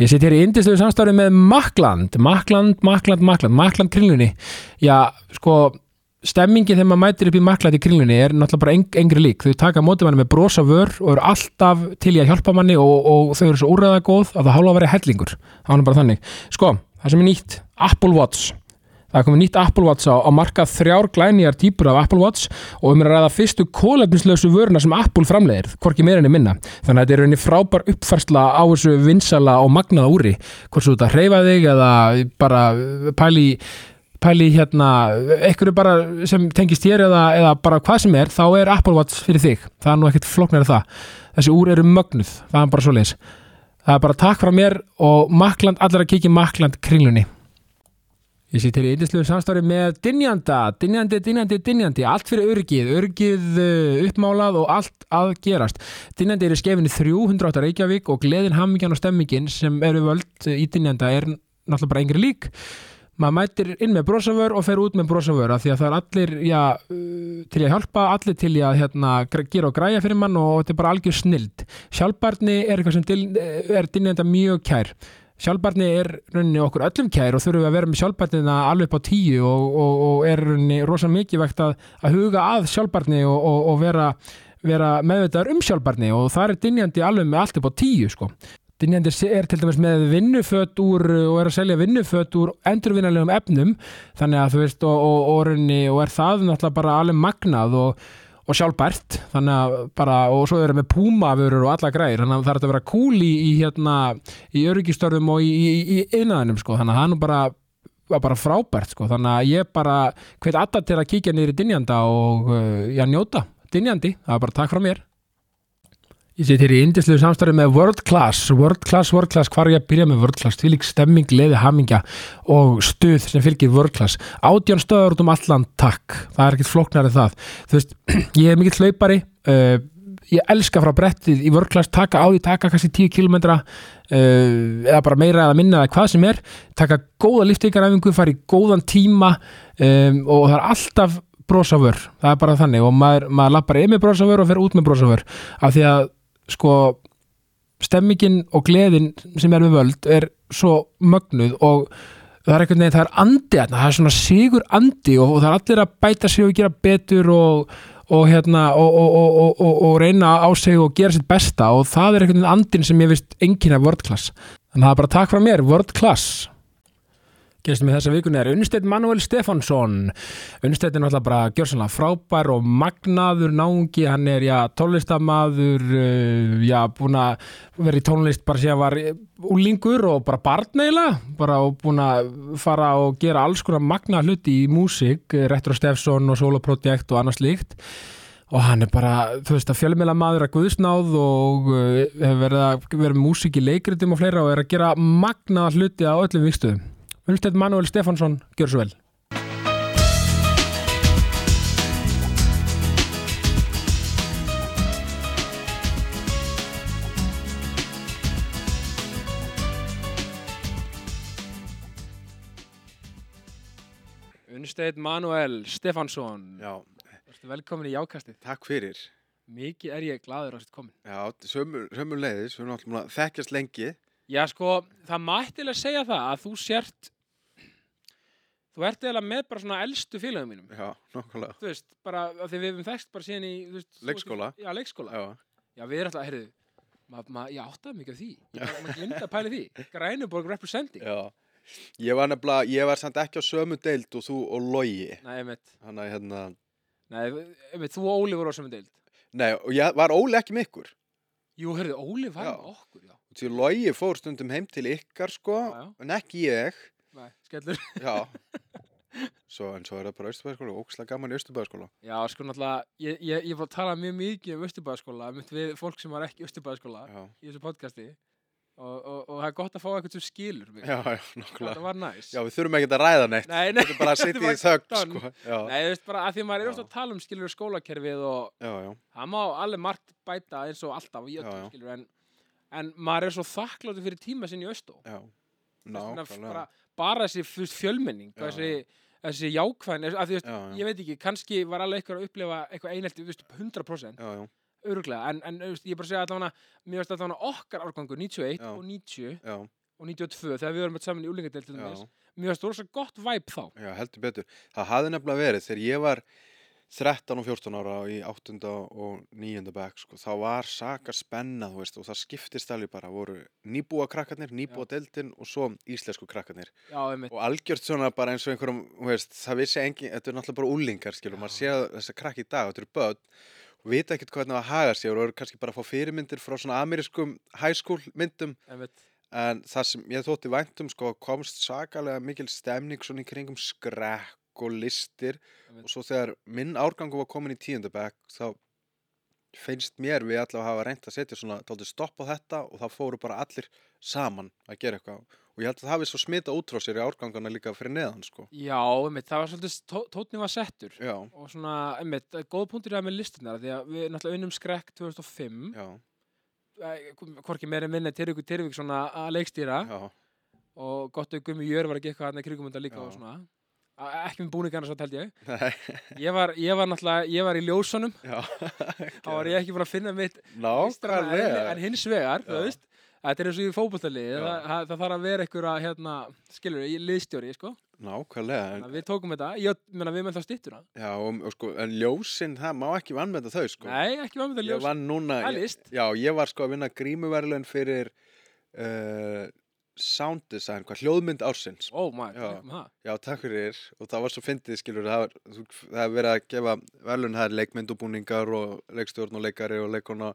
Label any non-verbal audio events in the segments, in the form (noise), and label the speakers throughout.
Speaker 1: Ég sitt hér í indistöðu samstarfi með Makland, Makland, Makland, Makland, Makland kringlunni. Já, sko, stemmingin þegar maður mætir upp í Makland í kringlunni er náttúrulega bara eng, engri lík. Þau taka mótið manni með brosa vör og eru alltaf til í að hjálpa manni og, og þau eru svo úrræða góð að það hálfa að vera hellingur. Það var nú bara þannig. Sko, það sem er nýtt, Apple Watch. Það er komið nýtt Apple Watch á, á markað þrjár glænýjar típur af Apple Watch og um er að ræða fyrstu kólefnislausu vöruna sem Apple framlegir, hvorki meira enni minna. Þannig að þetta er rauninni frábær uppfærsla á þessu vinsala og magnaða úri, hvort svo þetta hreyfa þig eða bara pæli, pæli hérna, einhverju bara sem tengist þér eða, eða bara hvað sem er, þá er Apple Watch fyrir þig. Það er nú ekkert flóknar það. Þessi úr eru mögnuð, það er bara svo leiðis. Það er bara takk frá mér og makland, allar að kikið makland kringlunni. Ég sýtt hér í yndisluðu samstarfi með dynjanda, dynjandi, dynjandi, dynjandi, allt fyrir örgið, örgið uh, uppmálað og allt að gerast. Dynjandi er í skefinni 308 Reykjavík og gleðin hammingjan og stemmingin sem eru völd eh, í dynjanda er náttúrulega bara engri lík. Maður mætir inn með brosavör og fer út með brosavör af því að það er allir já, uh, til að hjálpa, allir til að hérna, gr- gera og græja fyrir mann og þetta er bara algjör snild. Sjálfbarni er eitthvað sem dyn, er dynjanda mjög kær sjálfbarni er rauninni okkur öllum kær og þurfum við að vera með sjálfbarnina alveg upp á tíu og, og, og er rauninni rosa mikið vegt að, að huga að sjálfbarni og, og, og vera, vera meðvitaður um sjálfbarni og það er dynjandi alveg með allt upp á tíu sko. Dynjandi er til dæmis með vinnuföt úr og er að selja vinnuföt úr endurvinnalegum efnum þannig að þú veist og, og, og, rauninni, og er það náttúrulega bara alveg magnað og, og sjálfbært þannig að bara, og svo eru með púmavörur og alla græðir, þannig að það er hægt að vera cool í, í hérna, í öryggistörfum og í, í, í innæðinum, sko, þannig að hann bara var bara frábært, sko, þannig að ég bara hveit alltaf til að kíkja niður í dynjanda og uh, já, njóta, dynjandi það er bara takk frá mér Ég sitt hér í indislu samstarfi með World Class, World Class, World Class, hvar er ég að byrja með World Class, því lík stemming, leði, hamingja og stuð sem fylgir World Class. Átján stöðar út um allan takk, það er ekkert flóknar en það. Þú veist, (clears throat) ég er mikill hlaupari, uh, ég elska frá brettið í World Class, taka á því, taka kannski 10 km uh, eða bara meira eða minna eða hvað sem er, taka góða liftingaræfingu, fara í góðan tíma um, og það er alltaf brosavör, það er bara þannig og maður, maður lappar inn með brosavör og fer út með brosavör af því að sko stemmingin og gleðin sem er við völd er svo mögnuð og það er einhvern veginn, það er andi þarna, það er svona sigur andi og, og það er allir að bæta sig og gera betur og, og hérna og, og, og, og, og, og reyna á sig og gera sitt besta og það er einhvern veginn andin sem ég veist enginn af World Class þannig að það er bara takk frá mér, World Class Gestum í þessa vikuna er Unnstedt Manuel Stefánsson. Unnstedt er náttúrulega bara gjörsanlega frábær og magnaður náungi, hann er já, tónlistamaður, uh, já, búin að vera í tónlist bara sér var úlingur og bara barneila, bara og búin að fara og gera alls konar magna hluti í músík, eh, Retro Stefson og Solo Project og annars líkt og hann er bara, þú veist, að fjölmjöla maður að guðsnáð og uh, hefur verið að vera með músík í leikritum og fleira og er að gera magnaða hluti á öllum vikstöðum. Unnstedt Manuel Stefánsson, gjör svo vel. Unnstedt Manuel Stefánsson,
Speaker 2: Já,
Speaker 1: velkomin í jákastið.
Speaker 2: takk fyrir.
Speaker 1: Mikið er ég gladur á sitt komin.
Speaker 2: Já, sömur, sömur leiðis, við erum alltaf búin að þekkjast lengi.
Speaker 1: Já, sko, það mættilega segja það að þú sért þú ert eða með bara svona elstu félagum mínum.
Speaker 2: Já, nokkulega.
Speaker 1: Þú veist, bara af því við hefum þekst bara síðan í þú veist, þú-
Speaker 2: Leikskóla.
Speaker 1: Já, leikskóla.
Speaker 2: Já,
Speaker 1: Já, við erum alltaf, heyrðu, maður, ma, ég áttaði mikið af því. Maður glinda að pæli því. Grænuborg representing.
Speaker 2: já. Ég var nefnilega, ég var samt ekki á sömu deild og þú og logi.
Speaker 1: Nei, einmitt.
Speaker 2: Þannig að hérna,
Speaker 1: Nei, einmitt, þú og Óli voru á saman deild.
Speaker 2: nei, og ég var Óli ekki með ykkur.
Speaker 1: Jú, heyrðu, Óli var
Speaker 2: Já.
Speaker 1: með okkur, já.
Speaker 2: Því logi fór stundum heim til ykkar, sko,
Speaker 1: Já, já.
Speaker 2: en ekki ég.
Speaker 1: Nei, skellur.
Speaker 2: Já. Svo, en svo er það bara Östubæðaskóla, ókslega gaman í Östubæðaskóla.
Speaker 1: Já, sko, náttúrulega, ég, ég, ég var að tala mjög mikið um Östubæðaskóla, einmitt við fólk sem var ekki í Östubæðaskóla
Speaker 2: Já,
Speaker 1: í þessu podcasti og, og, og það er gott að fá eitthvað sem skilur mig.
Speaker 2: já, já, nokkulega.
Speaker 1: Þetta var næs.
Speaker 2: Já, við þurfum ekki að ræða neitt.
Speaker 1: Nei, nei.
Speaker 2: Þetta er bara að
Speaker 1: (laughs) Þetta
Speaker 2: sitja
Speaker 1: var
Speaker 2: í þögg,
Speaker 1: done.
Speaker 2: sko. Já,
Speaker 1: Nei, þú veist bara að því maður er
Speaker 2: Já.
Speaker 1: ofta að tala um skilur skólakerfið og
Speaker 2: já, já.
Speaker 1: það má alveg margt bæta eins og alltaf í öllum
Speaker 2: Já, já.
Speaker 1: skilur en, en maður er svo þakkláttur fyrir tíma sinni í Östó.
Speaker 2: Já,
Speaker 1: Þú veist, þannig að
Speaker 2: nákvæmlega.
Speaker 1: bara, bara þessi þú veist, fjölmenning
Speaker 2: Já,
Speaker 1: og þessi, þessi jákvæðin að því, þú veist,
Speaker 2: Já, já.
Speaker 1: ég veit ekki, kannski var alveg eitthvað að upplifa eitthvað einhelti, þú veist, 100%
Speaker 2: Já, já,
Speaker 1: öruglega, en, en þú veist, ég bara segja allavega, mér veist allavega okkar árgangur 91
Speaker 2: Já.
Speaker 1: og 90
Speaker 2: já,
Speaker 1: og 92 þegar við vorum öll saman í úlingadeild
Speaker 2: Já.
Speaker 1: mjög stór svo gott væp þá
Speaker 2: Já, heldur betur. Það hafði nefnilega verið þegar ég var 13 og 14 ára í 8. og 9. bekk, sko, þá var saka spenna, þú veist, og það skiptist alveg bara, voru nýbúa krakkarnir, nýbúa deltinn og svo íslensku krakkarnir.
Speaker 1: já, einmitt,
Speaker 2: Og algjört svona bara eins og einhverjum, þú veist, það vissi engin, þetta er náttúrulega bara úlingar, skilur, maður sé að þessa krakki í dag, þetta eru börn, og vita ekkert hvernig það haga sér og eru kannski bara að fá fyrirmyndir frá svona amerískum high school myndum
Speaker 1: einmitt.
Speaker 2: en það sem ég þótti væntum sko komst sakalega mikil stemning svona í kringum skrekk og listir
Speaker 1: Einmitt.
Speaker 2: og svo þegar minn árgangu var komin í tíundabæk þá finnst mér við allavega hafa reynt að setja svona tóldi stopp á þetta og það fóru bara allir saman að gera eitthvað og ég held að það hafi svo smita útrá sér í árgangana líka fyrir neðan sko
Speaker 1: já, einmitt, það var svolítið tó- tónninn var settur
Speaker 2: já,
Speaker 1: og svona, einmitt, góð punktur það með listinnar því að við náttúrulega unnum skrekk 2005
Speaker 2: já,
Speaker 1: eh, hvorki meira en minna Tyrvík Tyrvík svona að leikstýra
Speaker 2: já, (laughs)
Speaker 1: og gott auðvitað Gummi Jör var að gekka hann í krigum þetta líka
Speaker 2: Já.
Speaker 1: og svona A- ekki með búningarna svo held ég
Speaker 2: Nei.
Speaker 1: ég var, ég var náttúrulega, ég var í ljósunum (laughs)
Speaker 2: já
Speaker 1: þá
Speaker 2: (laughs)
Speaker 1: var ég ekki búin að finna mitt vistræna eðli, en
Speaker 2: nákvæmlega
Speaker 1: hins vegar, þú
Speaker 2: Já.
Speaker 1: veist þetta er eins og í fótbolltalið
Speaker 2: Já.
Speaker 1: það, það, það þarf að vera einhver að, hérna, skilur í liðstjóri, sko,
Speaker 2: nákvæmlega en,
Speaker 1: Þannig að við tókum þetta ég meina við með það stýttuna,
Speaker 2: já, og, og sko, en ljósin það má ekki vannmeta þau sko
Speaker 1: nei, ekki var með það
Speaker 2: Ég
Speaker 1: ljós
Speaker 2: vann núna
Speaker 1: Það er
Speaker 2: ég-
Speaker 1: list.
Speaker 2: Já, ég var sko að vinna grímuverlun fyrir uh, sound design, hvað hljóðmynd ársins
Speaker 1: ó, maður,
Speaker 2: Já.
Speaker 1: takk um það
Speaker 2: Já, takk fyrir og það var svo fyndið skilur það var- þú- það er verið að gefa verlun það er leikmynd og búningar og leikstjórn og leikari og leikona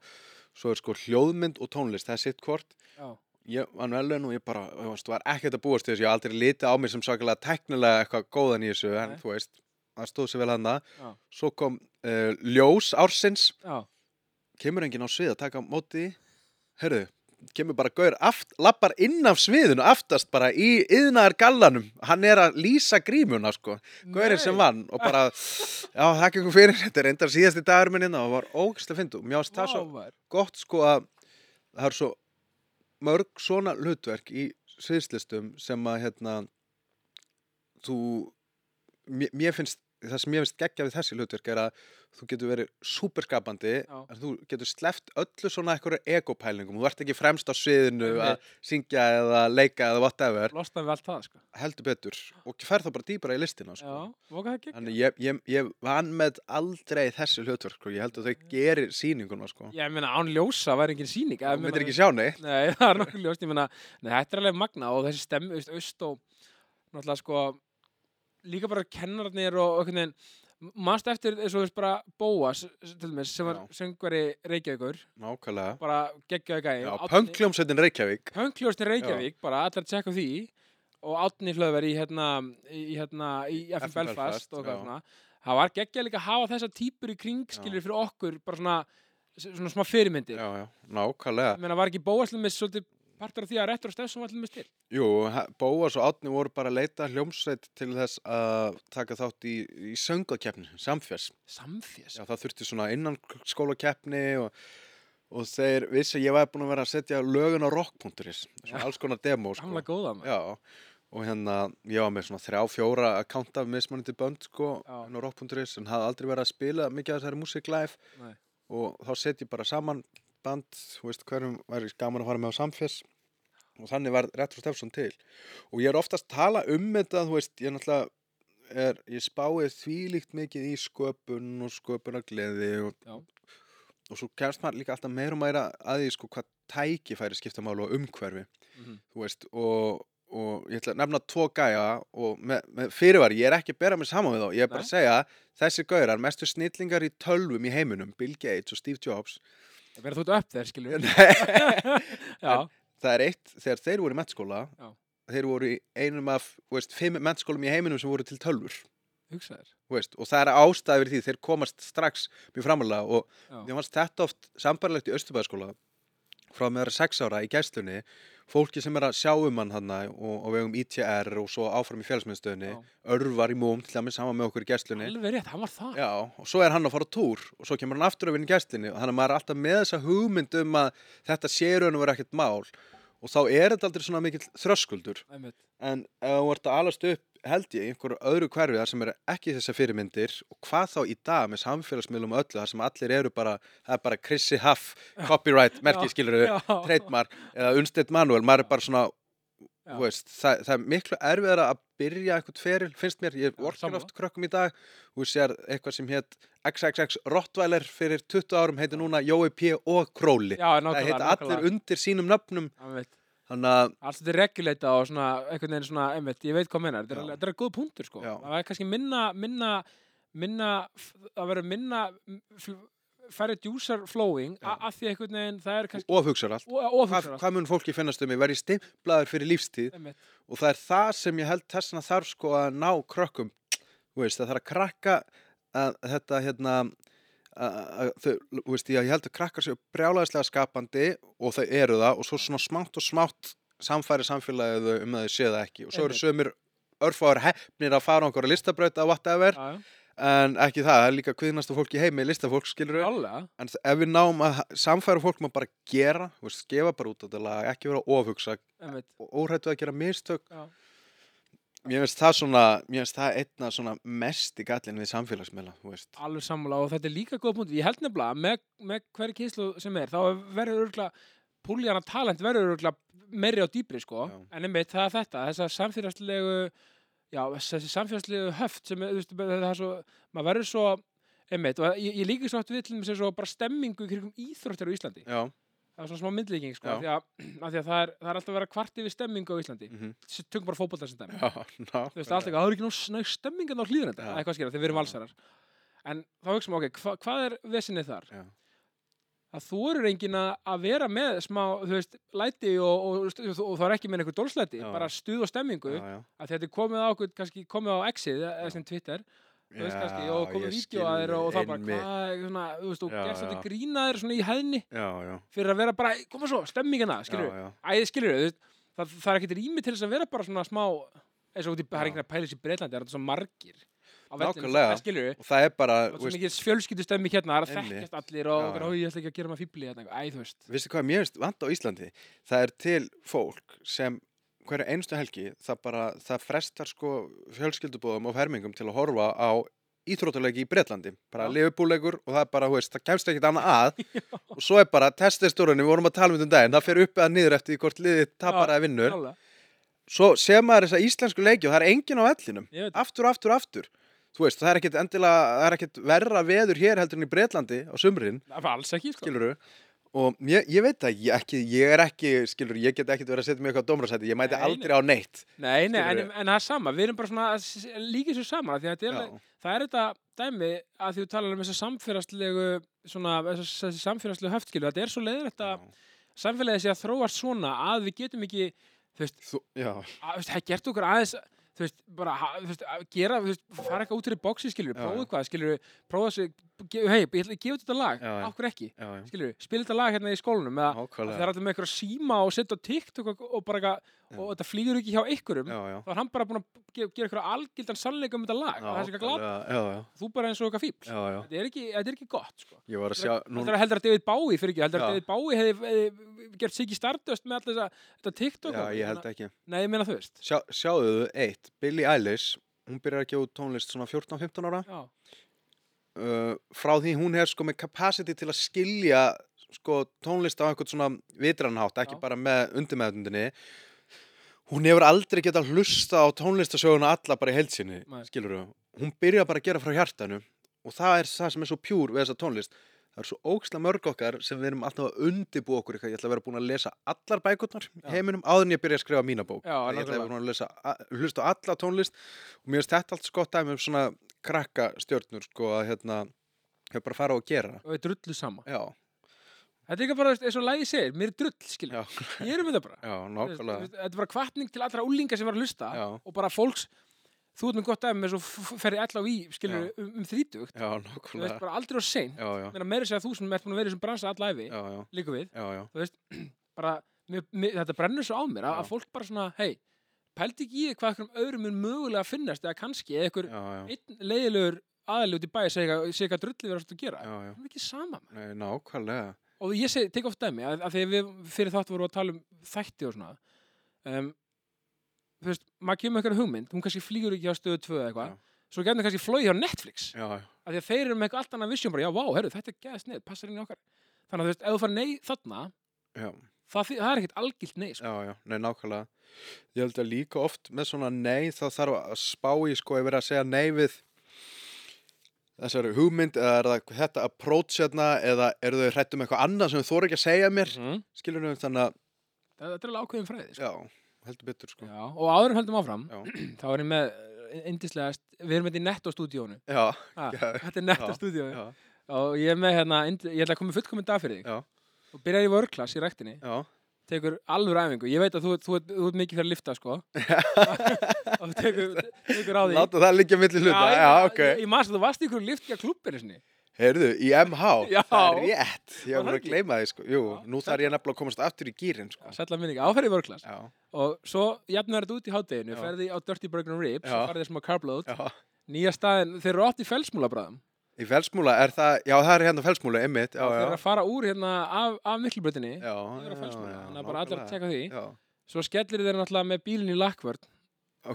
Speaker 2: svo er sko hljóðmynd og tónlist, það er sitt hvort
Speaker 1: já,
Speaker 2: ég vann verðlaun og ég bara þú veist, var ekkert að búast til þessu, ég haf aldrei litið á mig sem sakalega teknilega eitthvað góðan í þessu en
Speaker 1: Nei.
Speaker 2: þú veist, það stóð sér vel hann
Speaker 1: Já.
Speaker 2: svo kom uh, ljós ársins
Speaker 1: já,
Speaker 2: kemur enginn á svið að taka á móti herru, kemur bara gaur aft, lappar inn af sviðinu aftast bara í yðnaðar gallanum hann er að lýsa grímuna sko gaurinn
Speaker 1: Nei.
Speaker 2: sem vann og bara já, þakka ykkur fyrir, þetta er reyndar síðasti dagur minn hérna og var ógæslega fyndu mér ást það
Speaker 1: Vá,
Speaker 2: svo
Speaker 1: maður.
Speaker 2: gott sko að það er svo mörg svona hlutverk í sviðslistum sem að hérna þú mér, mér finnst það sem ég finnst geggja við þessi hlutverk er að þú getur verið superskapandi
Speaker 1: Já.
Speaker 2: en þú getur sleppt öllu svona eitthvað egopælingum, þú ert ekki fremst á sviðinu að syngja eða leika eða whatever,
Speaker 1: losnaði við allt það, sko
Speaker 2: heldur betur og ferð þá bara dýbra í listina sko.
Speaker 1: já, voka það gekk
Speaker 2: Þannig ég, ég, ég vann með aldrei þessi hlutverk og ég held að þau gerir sýninguna sko.
Speaker 1: ég meina, án ljósa væri engin sýning
Speaker 2: Þú myndir ekki sjá neitt
Speaker 1: Nei, (laughs) það er nokkuð ljóst, ég meina, nei, þetta er alveg magna og þessi stemmi, þú veist, aust og náttúrulega sko, líka bara kennararnir og einhvern veginn, mannst eftir eins og þú veist bara Bóas, til dæmis, sem var
Speaker 2: Já.
Speaker 1: söngvari Reykjavíkur,
Speaker 2: Nákvæmlega.
Speaker 1: bara geggjaði gæði.
Speaker 2: Já, pöngljómsveitin Reykjavík.
Speaker 1: Pönkljóstin Reykjavík, bara allar tjekka á því og Átni Hlöðver í hérna, í hérna, í FM
Speaker 2: FM
Speaker 1: Belfast,
Speaker 2: Belfast,
Speaker 1: og
Speaker 2: já.
Speaker 1: hvað svona, það var geggjað líka að hafa þessa típur í kringskilir fyrir okkur, bara svona, svona smá fyrirmyndir.
Speaker 2: Já, já, nákvæmlega.
Speaker 1: Ég meina, var ekki Bóas til dæmis svolítið partur af því að Retro Stefson var til dæmis til?
Speaker 2: Jú, ha- Bóas og Átni voru bara að leita hljómsveit til þess að taka þátt í, í söngakefni, samfjörs.
Speaker 1: Samfjess?
Speaker 2: Já, það þurfti svona innan skólakefni og, og þeir vissi að ég var búin að vera að setja lögun á rock.is, svona alls konar demo, sko.
Speaker 1: Gamla góða maður.
Speaker 2: Já, og hérna ég var með svona þrjá, fjóra akkánta af mismunandi bönd sko,
Speaker 1: Já.
Speaker 2: en á rock.is en hafði aldrei verið að spila mikið af þessari músík live
Speaker 1: Nei.
Speaker 2: og þá set ég bara saman band, þú veist hverjum væri gaman að fara með á samfés og þannig var Retro Stefson til og ég er oftast tala um þetta, þú veist, ég er náttúrulega er, ég spáið þvílíkt mikið í sköpun og sköpunargleði
Speaker 1: Já.
Speaker 2: og, og svo kemst maður líka alltaf meira og meira að því sko hvað tækifæri skipta málu og umhverfi
Speaker 1: Mhm.
Speaker 2: þú veist, og, og ég ætla að nefna tvo gæja og með, með fyrirværi, ég er ekki að bera mig saman við þá, ég er bara
Speaker 1: Nei.
Speaker 2: að segja þessi gaurar, mestu snillingar í tölvum í heiminum, Bill Gates og Steve Jobs
Speaker 1: Það verður þú ert upp þeir, skilur við. (laughs) Já,
Speaker 2: það er eitt, þegar þeir voru í mennskóla
Speaker 1: Já.
Speaker 2: þeir voru í einum af þú veist, fimm mennskólum í heiminum sem voru til tölvur
Speaker 1: hugsa þér.
Speaker 2: þú veist, og það er ástæður því þeir komast strax mjög framalega og
Speaker 1: Já.
Speaker 2: ég fannst þetta oft sambarlegt í Östubæðaskóla frá meðra sex ára í gæstlunni fólki sem er að sjá um hann hann og, og vegum ITR og svo áfram í fjálsmyndstöðinni
Speaker 1: Já.
Speaker 2: örvar í múm til að minn saman með okkur í gæstlunni
Speaker 1: Alveg rétt, hann var það.
Speaker 2: Já, og svo er hann að fara á túr og svo kemur hann aftur að vinna í gæstinni og þannig að maður er alltaf með þessa hugmynd um að þetta sé raun og vera ekkert mál og þá er þetta aldrei svona mikill þröskuldur
Speaker 1: Einmitt.
Speaker 2: en ef þú ert að alast upp held ég í einhverju öðru hverfi þar sem eru ekki þessar fyrirmyndir og hvað þá í dag með samfélagsmiðlum og öllu þar sem allir eru bara, það er bara
Speaker 1: (laughs)
Speaker 2: Chrissy Huff, copyright, merkið skilur
Speaker 1: Já.
Speaker 2: trademark eða Unstead Manuel, maður er bara svona
Speaker 1: Já.
Speaker 2: Þú veist, það, það er miklu erfiðara að byrja eitthvað feril, finnst mér, ég
Speaker 1: Já,
Speaker 2: vorkar
Speaker 1: sammála.
Speaker 2: oft krökkum í dag, þú sér eitthvað sem hétt XXX Rottweiler fyrir 20 árum heitir núna Jói P. og Króli
Speaker 1: Já,
Speaker 2: það
Speaker 1: nákvæmlega,
Speaker 2: heita allir
Speaker 1: nákvæmlega
Speaker 2: undir sínum nöfnum
Speaker 1: Allir,
Speaker 2: þannig að
Speaker 1: alls þetta er reguleita og svona einhvern veginn svona, einmitt, ég veit hvað meina þetta er,
Speaker 2: Já.
Speaker 1: alveg- þetta er góð punktur sko
Speaker 2: Já.
Speaker 1: það er kannski minna, minna, minna að vera minna færri djúsar flowing a- af því einhvern veginn það er kannski
Speaker 2: ofhugsar allt hvað,
Speaker 1: ofur
Speaker 2: hvað mun fólki finnast um ég verði stimplaður fyrir lífstíð og það er það sem ég held þessna þarf sko að ná krökkum Þú veist, það þarf að krakka að þetta hérna að, að, þau, þú veist, ég, ég held að krakkar séu brjálæðislega skapandi og þau eru það og svo svona smátt og smátt samfæri samfélagið þau um að þau séu það ekki og svo eru sömur örfáður hefnir að fara á einhverja listabraut að whatever en ekki það, það er líka kviðnastu fólk í heimi listafólk skilur
Speaker 1: Allega,
Speaker 2: en þ- ef við náum að samfæra fólk um að bara gera, þú veist, gefa bara út þetta lag, ekki vera ofhugsa
Speaker 1: einmitt
Speaker 2: og óhrættu að gera mistök
Speaker 1: Já.
Speaker 2: mér finnst það svona, mér finnst það einna svona mest í gallin við samfélagsmiðla þú veist,
Speaker 1: alveg sammála og þetta er líka góð punkt ég held nefnilega að með, með hverju kynslu sem er þá verður örgulega púljana talent verður örgulega meiri á dýbri sko.
Speaker 2: Já.
Speaker 1: en einmitt það er þetta þessar samfélagslegu já, þessi samfélagslegu höft sem er, þú veist, það er svo, maður verður svo einmitt, og ég, ég líka svo átt við til þess svo bara stemmingu í kringum íþróttir á Íslandi
Speaker 2: já,
Speaker 1: það er svona smá myndlíking sko,
Speaker 2: Já.
Speaker 1: af því að, af því að það, er, það er alltaf að vera kvart yfir stemmingu á Íslandi
Speaker 2: mhm,
Speaker 1: tökum bara fótbolta sem dæmi
Speaker 2: já, ná
Speaker 1: þú veist, allt eitthvað, það er ekki ná snögg stemmingan á hlýðin þetta,
Speaker 2: Já.
Speaker 1: eða eitthvað skilja, þegar við erum
Speaker 2: Já.
Speaker 1: valsarar en þá hugsaum við, ok, hva, hvað er vesinnið þar?
Speaker 2: Já.
Speaker 1: að þú eru reyngin að vera með smá, þú veist, læti og, og, og, og, það er ekki með einhver dólslæti,
Speaker 2: Já.
Speaker 1: bara stuð og stemmingu,
Speaker 2: já, já,
Speaker 1: að þetta er komið á okkur, kannski komið á exið, eða sem Twitter þú veist kannski, og komið
Speaker 2: ég
Speaker 1: vídeo að þeir og, og það bara,
Speaker 2: einmitt.
Speaker 1: hvað, er svona, þú veist, og
Speaker 2: Já,
Speaker 1: gerst
Speaker 2: já.
Speaker 1: þetta grínaðir svona í hæðni
Speaker 2: já, já,
Speaker 1: fyrir að vera bara, "Ey, koma svo, stemmingina, skilur
Speaker 2: já, já,
Speaker 1: Æ, skilur þú veist, það, það er ekkert rými til þess að vera bara svona smá eins og út í, það er
Speaker 2: Já.
Speaker 1: ekkert að pæla þessi bretlandi, það er þetta svo margir á
Speaker 2: Nákvæmlega.
Speaker 1: skilur þú,
Speaker 2: og það er bara,
Speaker 1: og
Speaker 2: þú
Speaker 1: svo
Speaker 2: veist,
Speaker 1: mikið fjölskyldustemmi hérna, það er að
Speaker 2: Einmitt.
Speaker 1: þekkjast allir og
Speaker 2: Já,
Speaker 1: okkur,
Speaker 2: já.
Speaker 1: "Ó, ég ætla ekki að gera maður fíbli hérna, eitthvað." æ, þú veist,
Speaker 2: veistu hvað mér finnst vant á Íslandi það er til fólk sem hverja einstu helgi það bara það frestar sko fjölskyldubóðum og fermingum til að horfa á íþrótulegi í Bretlandi, bara
Speaker 1: Já.
Speaker 2: lifubúlegur og það er bara, þú veist, það kemst ekkit annað
Speaker 1: (laughs)
Speaker 2: að og svo er bara testestúrunni, við vorum að tala um þetta um daginn, það fer upp eða niður eftir því hvort liðið tapar
Speaker 1: Já.
Speaker 2: eða vinnur,
Speaker 1: nálega
Speaker 2: svo sé maður þessa íslensku leiki og það er engin á vellinum
Speaker 1: ég veit,
Speaker 2: aftur, aftur, aftur, þú veist, það er ekkit endilega, það er ekkit verra veður hér heldur en í Bretlandi á sumrin
Speaker 1: það var alls ekki, sko
Speaker 2: skiluru og ég, ég veit það, ég, ekki, ég er ekki skiluru, ég get ekkert verið að setja mig í eitthvað dómrasæti ég mæti
Speaker 1: Nei, nei.
Speaker 2: aldrei á neitt
Speaker 1: nei, nei, en,
Speaker 2: skilurðu.
Speaker 1: en það er sama, við erum bara svona að s- líka þessu saman, af því að þetta er alveg-
Speaker 2: Já,
Speaker 1: það er þetta dæmi að því þú talar um þessi samfélagslegu svona, þessi þessi samfélagslegu höftskilu, þetta er svo leiðilegt
Speaker 2: já.
Speaker 1: að samfélagið sé að þróast svona að við getum ekki, þú veist,
Speaker 2: Þú, já,
Speaker 1: að, þú veist, það gert okkur aðeins þú veist, bara, ha- þú veist, að gera þú veist, fara eitthvað út fyrir bóksi, skilur,
Speaker 2: Já,
Speaker 1: prófa
Speaker 2: já.
Speaker 1: eitthvað, skilur prófa þessu, ge- hei, ég ætla að gefa út þetta lag
Speaker 2: Já, já.
Speaker 1: okkur ekki,
Speaker 2: já, já,
Speaker 1: skilur, spila þetta lag hérna í skólanum eða það er
Speaker 2: ákvæðlega
Speaker 1: alltaf með eitthvað síma og setja á TikTok og, og bara eitthvað, og þetta flýgur ekki hjá ykkurum
Speaker 2: já, já,
Speaker 1: þá er hann bara búin að ge- gera eitthvað algildan sannleika um þetta lag,
Speaker 2: já,
Speaker 1: það er eitthvað glata
Speaker 2: já, já,
Speaker 1: þú bara eins og eitthvað fíbl,
Speaker 2: já, já
Speaker 1: þetta er ekki, þetta er ekki gott, sko
Speaker 2: ég var að sjá
Speaker 1: Þetta
Speaker 2: núna,
Speaker 1: er heldur að David Bowie fyrir ekki, heldur að
Speaker 2: Já.
Speaker 1: David Bowie hefði hef, gert sig í stardust með alltaf þetta TikTok
Speaker 2: já,
Speaker 1: og-
Speaker 2: ég held ekki
Speaker 1: Nei, ég meina þú veist
Speaker 2: sjá, sjáðu þau eitt, Billie Eilish hún byrjar að gefa út tónlist svona 14-15 ára
Speaker 1: Já,
Speaker 2: uh, frá því hún er sko með capacity til að skilja sko tónlist á einhvern svona vitranhátt, ekki
Speaker 1: Já.
Speaker 2: bara með undirmeðundinni hún hefur aldrei getað hlusta á tónlistasöguna alla bara í heilsinni,
Speaker 1: Nei.
Speaker 2: skilur þau hún byrja bara að gera frá hjartanu og það er það sem er svo pjúr við þessa tónlist það er svo óksla mörg okkar sem við erum alltaf að undibú okkur eitthvað, ég ætla að vera búin að lesa allar bækurnar í
Speaker 1: Já.
Speaker 2: heiminum áður en ég byrja að skrifa mína bók
Speaker 1: Já,
Speaker 2: ég ætla að
Speaker 1: nákvæmlega.
Speaker 2: vera búin að lesa, að, hlusta á alla tónlist og mér finnst þetta allt skott dæmi um svona krakka stjörnur sko að hérna hefur bara fara og gera
Speaker 1: og er drullu sama
Speaker 2: já,
Speaker 1: Þetta er ekki bara, þú veist, eins og lagi segir, mér er drull, skilja
Speaker 2: já,
Speaker 1: Ég er með það bara
Speaker 2: já,
Speaker 1: Þú veist, þú
Speaker 2: nákvæmlega
Speaker 1: veist, Þetta er bara kvartning til allra úlinga sem var að hlusta
Speaker 2: já,
Speaker 1: og bara fólks, þú ert með gott dæmi eins og f- f- ferði allá í, skilur, um, um þrítugt
Speaker 2: já,
Speaker 1: Þú veist,
Speaker 2: nákvæmlega
Speaker 1: bara aldrei á sein
Speaker 2: já, já,
Speaker 1: Meira meira segja þú sem ert búin að vera í þessum bransa allæfi,
Speaker 2: já, já,
Speaker 1: líka við
Speaker 2: já, já
Speaker 1: bara, mér, mér, þetta brennur svo á mér að,
Speaker 2: Já.
Speaker 1: að fólk bara svona, hei, pældi ekki í hvað einhverjum öðrum mun mögulega finnast eða kannski eða einhver
Speaker 2: já, já,
Speaker 1: einn leiðilegur aðli út í bæ segja hvað drullið verðast að gera
Speaker 2: já, já,
Speaker 1: það er ekki sama man.
Speaker 2: Nei, nákvæmlega
Speaker 1: og ég seg, tek oft dæmi að, að þegar við fyrir þátt vorum við að tala um þætti og svona um, þú veist, maður kemur eitthvað hugmynd hún kannski flýgur ekki á stöðu 2 eða eitthvað
Speaker 2: Já.
Speaker 1: svo gætum það kannski flóið hjá Netflix
Speaker 2: já, já,
Speaker 1: af því að þeir eru með eitthvað allt annað visjum bara, já, vá, herru, þetta er gæðast neð, passar inn í okkar þannig að þú veist, ef þú fara nei þarna
Speaker 2: já,
Speaker 1: það, þý- það er ekkert algilt nei sko.
Speaker 2: Já, já, nei, nákvæmlega Ég held að líka oft með svona nei þá þarf að spá í sko ef er að segja nei við þessari hugmynd eða er það þetta approach hérna eða eru þau hrættum eitthvað annað sem þau þóra ekki að segja mér
Speaker 1: mm.
Speaker 2: skilur þau þannig að,
Speaker 1: það, það er alveg ákveðin fræði sko.
Speaker 2: já, heldur betur sko
Speaker 1: Já, og áðurum höldum áfram
Speaker 2: Já,
Speaker 1: (clears throat) þá er ég með eh, yndislega st- við erum með þetta í nettostúdíónu
Speaker 2: já,
Speaker 1: Ha,
Speaker 2: Já.
Speaker 1: þetta er
Speaker 2: Já.
Speaker 1: nettostúdíónu
Speaker 2: já,
Speaker 1: og ég er með hérna yndi- ég ætla að koma fullkominn dag fyrir þig
Speaker 2: já,
Speaker 1: og byrjar í vörklass í ræktinni
Speaker 2: já.
Speaker 1: tekur alvöru æfingu, ég veit að þú, ert- þú, ert- þú ert mikið fyrir að lifta
Speaker 2: (laughs)
Speaker 1: sko og tekur, tekur á því
Speaker 2: Láta það liggja milli hluta, já, ok
Speaker 1: ég, ég maður að þú varst í ykkur liftja klubbinu sinni
Speaker 2: Heyrðu, í MH,
Speaker 1: Já.
Speaker 2: það er rétt
Speaker 1: Var
Speaker 2: Ég var
Speaker 1: það
Speaker 2: að
Speaker 1: ekki?
Speaker 2: gleyma því sko, jú,
Speaker 1: Já.
Speaker 2: nú þarf ég nefnilega að komast aftur í gýrin sko
Speaker 1: sætla minni ekki, áferði vörklass
Speaker 2: Já,
Speaker 1: og svo jafnar þetta út í hátteginu,
Speaker 2: Já.
Speaker 1: ferði á Dirty Burger and Ribs
Speaker 2: Já.
Speaker 1: og farði smá carbload
Speaker 2: já
Speaker 1: nýja staðin, þeir eru oft í felsmúla bræðum
Speaker 2: Í felsmúla er það, já það er hérna felsmúla, einmitt, já,
Speaker 1: þeir
Speaker 2: já.
Speaker 1: eru að fara úr hérna af, af miklubrötinni
Speaker 2: Já,
Speaker 1: þeir eru á felsmúla,
Speaker 2: já, já,
Speaker 1: þannig að bara allir að
Speaker 2: nákvæmlega.
Speaker 1: tjekka því
Speaker 2: Já,
Speaker 1: svo skellir þeir náttúrulega með bílinn í lakkvörn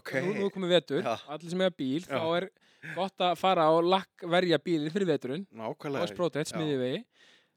Speaker 2: ok,
Speaker 1: nú, nú komið vetur,
Speaker 2: Já.
Speaker 1: allir sem hefða bíl
Speaker 2: Já.
Speaker 1: þá er gott að fara og lakk verja bílinn fyrir veturinn,
Speaker 2: nákvæmlega.
Speaker 1: Boss Protect
Speaker 2: Já.
Speaker 1: smiði vegi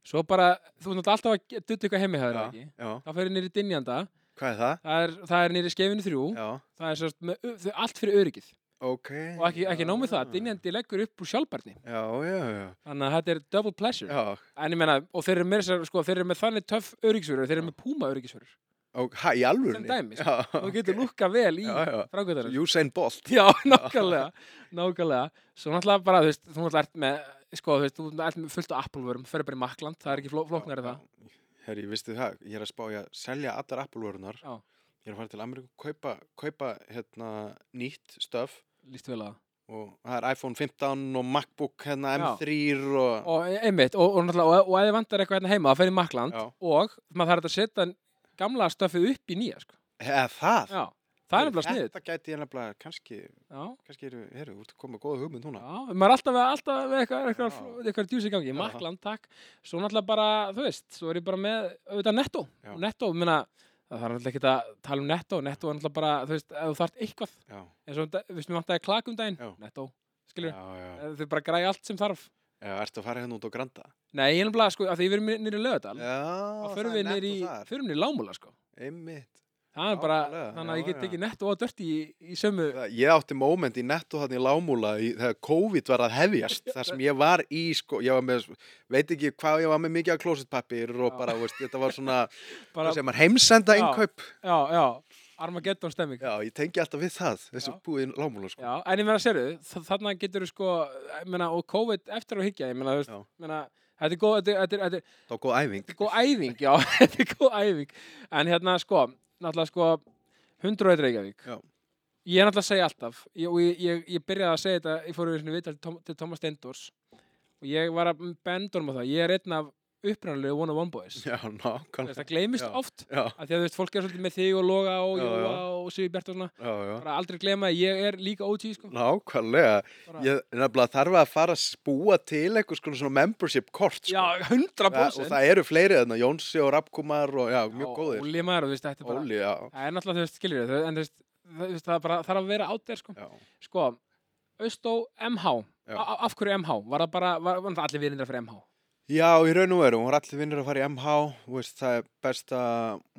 Speaker 1: svo bara, þú er náttúrulega alltaf að ge- dutta eitthvað heimi hefur
Speaker 2: Já,
Speaker 1: ekki
Speaker 2: já,
Speaker 1: þá fyrir nýri dinjanda,
Speaker 2: hvað er það?
Speaker 1: það er, það er nýri skefinu þrjú
Speaker 2: Já,
Speaker 1: það er sérst, með, ö- þau- allt fyrir öryggið
Speaker 2: ok.
Speaker 1: og ekki, ekki nómið
Speaker 2: Ah.
Speaker 1: það, dinjandi leggur upp úr sjálfbarni
Speaker 2: Já, já, já,
Speaker 1: þannig að þetta er double pleasure
Speaker 2: já,
Speaker 1: En ég meina, og þeir eru með, þessar- sko, þeir eru með þannig töff öryggisvörur, þeir eru með púma öryggisvörur.
Speaker 2: og hæ, í alvörunni.
Speaker 1: Sem dæmi, sko.
Speaker 2: Já,
Speaker 1: Þú getur lúkka vel í
Speaker 2: Já, já.
Speaker 1: frákvæðarum.
Speaker 2: Usain Bolt.
Speaker 1: (laughs) Já, nákvæmlega, nákvæmlega. Svo náttúrulega bara, þú veist, þú náttúrulega ert með, sko, þú veist, þú ert með fullt af Apple-vörum, ferði bara í Makland, það er ekki fló, flóknar en það.
Speaker 2: Herri, ég veistu það, ég er að spá ég að selja allar Apple-vörunar.
Speaker 1: Já.
Speaker 2: Ég er að fara til Ameríku, kaupa, kaupa, hérna, nýtt stöf
Speaker 1: Lýst vel að það.
Speaker 2: og það er iPhone 15 og MacBook, hérna,
Speaker 1: Já.
Speaker 2: M3 og...
Speaker 1: Og e, einmitt, og, og náttúrulega, og, og ef þið vantar eitthvað hérna heima, það ferði í Makland
Speaker 2: Já.
Speaker 1: og maður þarf að setja gamla stöfið upp í nýja, sko.
Speaker 2: Eða það?
Speaker 1: Já, það er nefnilega sniðið.
Speaker 2: Þetta gæti ég nefnilega kannski
Speaker 1: Já.
Speaker 2: kannski eru, heyrðu, þú ert að koma með góða hugmynd núna.
Speaker 1: Já, maður er alltaf, með- alltaf með eitthvað, eitthvað,
Speaker 2: Já.
Speaker 1: eitthvað djús í gangi, makland, takk svo náttúrulega bara, þú veist, svo er ég bara með auðvitað netto,
Speaker 2: Já.
Speaker 1: netto, ég meina það þarf náttúrulega ekki að tala um netto netto er náttúrulega bara, þú veist, ef þú þarft eitthvað
Speaker 2: Já,
Speaker 1: eins og, um da- við sem vantaði klak um daginn,
Speaker 2: Já.
Speaker 1: netto
Speaker 2: já,
Speaker 1: skilur,
Speaker 2: já.
Speaker 1: þau bara græja allt sem þarf
Speaker 2: já ertu að fara hérna út á Granda?
Speaker 1: nei, ég er náttúrulega, sko, af því við erum nýri í lögadal
Speaker 2: Já,
Speaker 1: þá
Speaker 2: það
Speaker 1: förum
Speaker 2: er
Speaker 1: við
Speaker 2: nett
Speaker 1: niður í,
Speaker 2: og þar.
Speaker 1: förum niður í lámúla, sko
Speaker 2: Einmitt.
Speaker 1: það er bara,
Speaker 2: Nákvæmlega,
Speaker 1: þannig að
Speaker 2: já,
Speaker 1: ég get
Speaker 2: já.
Speaker 1: ekki netto og dört í, í sömu
Speaker 2: Það- Ég átti moment í netto þarna í Lámúla í, þegar COVID var að hefjast þar sem ég var í, sko, ég var með veit ekki hvað, ég var með mikið af klósitpappir og
Speaker 1: Já.
Speaker 2: bara, veist, þetta var svona
Speaker 1: (laughs) bara,
Speaker 2: sem er heimsenda
Speaker 1: Já.
Speaker 2: innkaup
Speaker 1: já, já, Armageddon stemming
Speaker 2: Já, ég tengi alltaf við það, þessu
Speaker 1: Já.
Speaker 2: búið í Lámúla, sko
Speaker 1: Já, en ég meina, sérðu, þannig getur þú sko, ég meina, og COVID eftir að higgja, ég meina, þú veist,
Speaker 2: Já.
Speaker 1: ég meina, þetta er góð, þetta er, þetta er, þetta er,
Speaker 2: Það var góð æfing
Speaker 1: þetta er góð æfing, já, (laughs) þetta er góð æfing, en hérna, sko, náttúrulega, sko, 100 eitt Reykjavík,
Speaker 2: Já.
Speaker 1: ég er náttúrulega að segja alltaf, ég, og ég, ég, ég byrjaði að segja þetta, ég fór við viðtal til, Tom, til Thomas Steindors, og ég var að benda honum á það, ég er einn af upprænulegu One on One Boys,
Speaker 2: Já,
Speaker 1: Þú veist,
Speaker 2: nákvæmlega
Speaker 1: það gleymist
Speaker 2: Já.
Speaker 1: oft,
Speaker 2: Já,
Speaker 1: að því að, þú veist, fólk er svolítið með þig og Loga og
Speaker 2: Já,
Speaker 1: Jóa
Speaker 2: já.
Speaker 1: og Sigbjart og svona,
Speaker 2: já, já
Speaker 1: bara aldrei gleyma, að ég er líka OG, sko,
Speaker 2: Nákvæmlega
Speaker 1: bara...
Speaker 2: Ég nefnilega þarf að fara að búa til einhvers konar svona membership kort sko.
Speaker 1: Já, 100%
Speaker 2: það, og það eru fleiri þarna, Jónsi og Rappkumar og já, mjög góðir.
Speaker 1: Óli maður, þú veist, þetta er bara
Speaker 2: Óli, já.
Speaker 1: Það er náttúrulega, þú veist, skilur þau En þú veist, það, þú veist, það er bara, þarf að vera át þér, sko
Speaker 2: já.
Speaker 1: Sko, Austó MH
Speaker 2: Já.
Speaker 1: A- Af hverju MH? Var það bara, var, var það allir virindar fyrir MH?
Speaker 2: Já, í raun og veru, hún var allir vinnir að fara í MH, þú veist, það er besta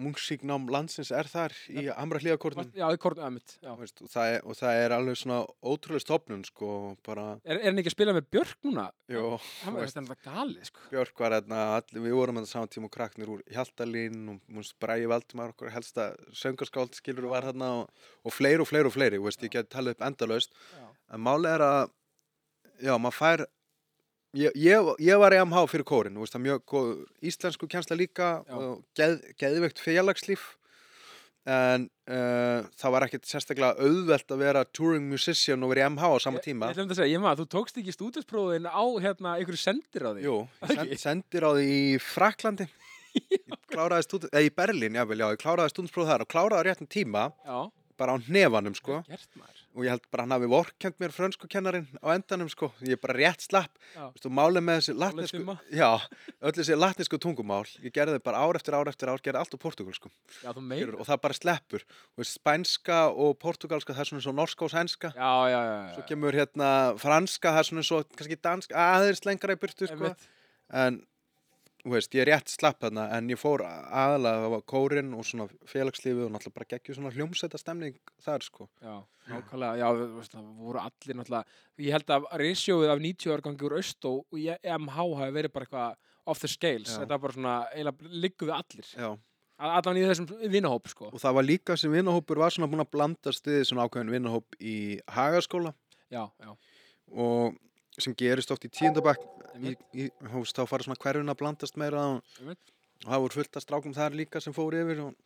Speaker 2: mungsíknám landsins er þar í Amra hlíðakornum.
Speaker 1: Varst, já, í kornu ömmit já.
Speaker 2: Þú veist, Og, það er- og það er alveg svona ótrúlega stopnun, sko, bara,
Speaker 1: Er, er hann ekki að spila með Björk núna?
Speaker 2: jú,
Speaker 1: Hann
Speaker 2: þú
Speaker 1: er þetta galið, sko
Speaker 2: Björk var þarna, all, við vorum þarna saman tíma og krakknir úr Hjaltalín og múnst Bræði Valdimar okkur helsta söngaskáld skilur var þarna og, og fleiri og fleiri og fleiri, þú veist, ég geti talið upp endalaust
Speaker 1: Já.
Speaker 2: en málið er að já, maður fær ég, ég, ég var í MH fyrir kórin, þú veist, það er mjög góð íslensku kjensla líka
Speaker 1: Já.
Speaker 2: og geð, geðveikt félagslíf en uh, það var ekkit sérstaklega auðvelt að vera touring musician og vera í MH á sama tíma
Speaker 1: Ég, ég ætlum þetta að segja, ég maður, þú tókst ekki stúdinspróðin á, hérna, einhverju sendir á því
Speaker 2: Jú, ég
Speaker 1: Það
Speaker 2: send,
Speaker 1: ekki?
Speaker 2: sendir á því í
Speaker 1: (laughs)
Speaker 2: Fraklandi Ég kláraði stúd, eða í Berlín, jável, já, ég kláraði stúdinspróð þar og kláraði á réttin tíma,
Speaker 1: Já,
Speaker 2: bara á nefanum, sko
Speaker 1: gert maður
Speaker 2: og ég held bara hann hafi vorkend mér frönsku kennarinn á endanum, sko, ég er bara rétt slapp
Speaker 1: Já.
Speaker 2: Veistu, málið með þessi latnesku
Speaker 1: dimma.
Speaker 2: Já, öll þessi latnesku tungumál ég gerði bara ár eftir ár eftir ár, gerði allt á portugalsku
Speaker 1: Já, þú meir
Speaker 2: Skilurðu, og það bara sleppur, og spænska og portugalska, það er svona svo norska og sænska
Speaker 1: Já, já, já, já.
Speaker 2: Svo kemur hérna sko. franska, það er svona svo kannski danska, aðeins lengra í burtu, sko
Speaker 1: Einmitt.
Speaker 2: en þú veist, ég rétt slapp þarna en ég fór aðalega að kórin og svona félagslífið og náttúrulega bara geggju svona hljómsæta stemning þar sko
Speaker 1: Já, nákvæmlega, já, þú veist, það voru allir náttúrulega, ég held að resjóið af 90 árgangi úr Östó og í MH hafi verið bara eitthvað off the scales,
Speaker 2: Já.
Speaker 1: þetta var bara svona, eiginlega liggum við allir,
Speaker 2: Já.
Speaker 1: Að- allan í þessum vinahóp, sko.
Speaker 2: og það var líka sem vinnahópur var svona búin að blandast við svona ákveðin vinnahóp í hagaskóla
Speaker 1: Já, já,
Speaker 2: og sem gerist oft í tíundabæk í,
Speaker 1: Einmitt.
Speaker 2: í, hóst, þá fara svona hverfin að blandast meira og,
Speaker 1: Einmitt.
Speaker 2: og það voru fullt að strákum þar líka sem fóru yfir og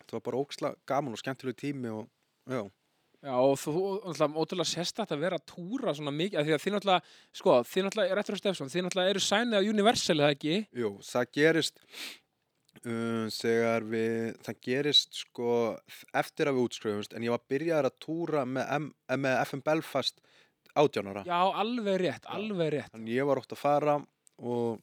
Speaker 2: þetta var bara óksla gaman og skemmtileg tími og já,
Speaker 1: já, og þú, og náttúrulega, ótrúlega sérstætt að vera að túra svona mikið, af því að þið náttúrulega, sko, þið náttúrulega, Retro Stefson, þið náttúrulega eru sænið á Universal, er það ekki?
Speaker 2: jú, það gerist um, þegar við það gerist sko eftir að við útskrifumst en ég var byrjaður að túra með, M, eh, með FM Belfast átjánara
Speaker 1: Já, alveg rétt, alveg rétt.
Speaker 2: Þannig ég var ótt að fara og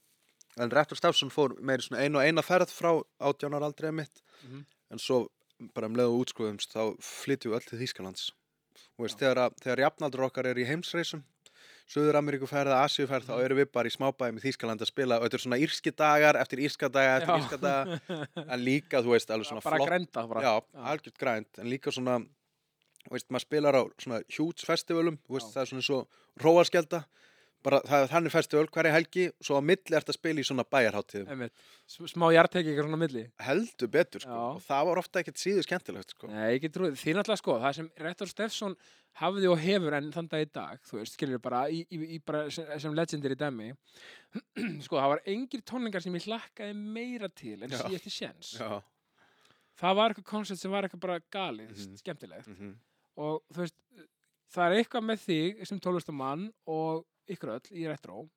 Speaker 2: en Rettur Stafsson fór meiri svona einu og eina ferð frá átjánar aldreið mitt
Speaker 1: Mhm.
Speaker 2: en svo bara um leið og útskruðumst þá flytjum við öll til Þýskalands og veist, þegar, að, þegar jafnaldur okkar er í heimsreisum Suður Ameríku ferð að Asíu ferð
Speaker 1: Mm.
Speaker 2: þá eru við bara í smábæðum í Þýskaland að spila og þetta er svona írski dagar eftir írska daga eftir
Speaker 1: Já. (laughs)
Speaker 2: írska daga en líka þú veist alveg svona
Speaker 1: bara
Speaker 2: flott
Speaker 1: grænda, bara.
Speaker 2: Já, algjört grænt, en líka svona þú veist, maður spilar á svona huge festivalum, þú veist,
Speaker 1: Já.
Speaker 2: það er svona svo róaskjelda, bara það er þannig festival hverja helgi, svo á milli ertu að spila í svona bæjarháttíðum,
Speaker 1: Einmitt. S- smá jartekingar svona á milli.
Speaker 2: heldur betur sko,
Speaker 1: Já.
Speaker 2: og það var ofta ekkert síður skemmtilegt sko.
Speaker 1: Nei, ekki trúið. Þið náttúrulega sko, það sem Rettor Stefson hafði og hefur enn þann dag í dag, þú veist, skilur bara, í, í, í bara sem, sem legendir í dæmi, (clears throat) sko, það var engir tónlingar sem ég hlakkaði meira til en
Speaker 2: Já.
Speaker 1: síðasti sjens.
Speaker 2: Já,
Speaker 1: Það var eitthvað koncept sem var eitthvað bara galið,
Speaker 2: Mhm.
Speaker 1: skemmtilegt.
Speaker 2: mm
Speaker 1: Og þú veist, það er eitthvað með þig sem tólustamann og ykkur öll í Retro.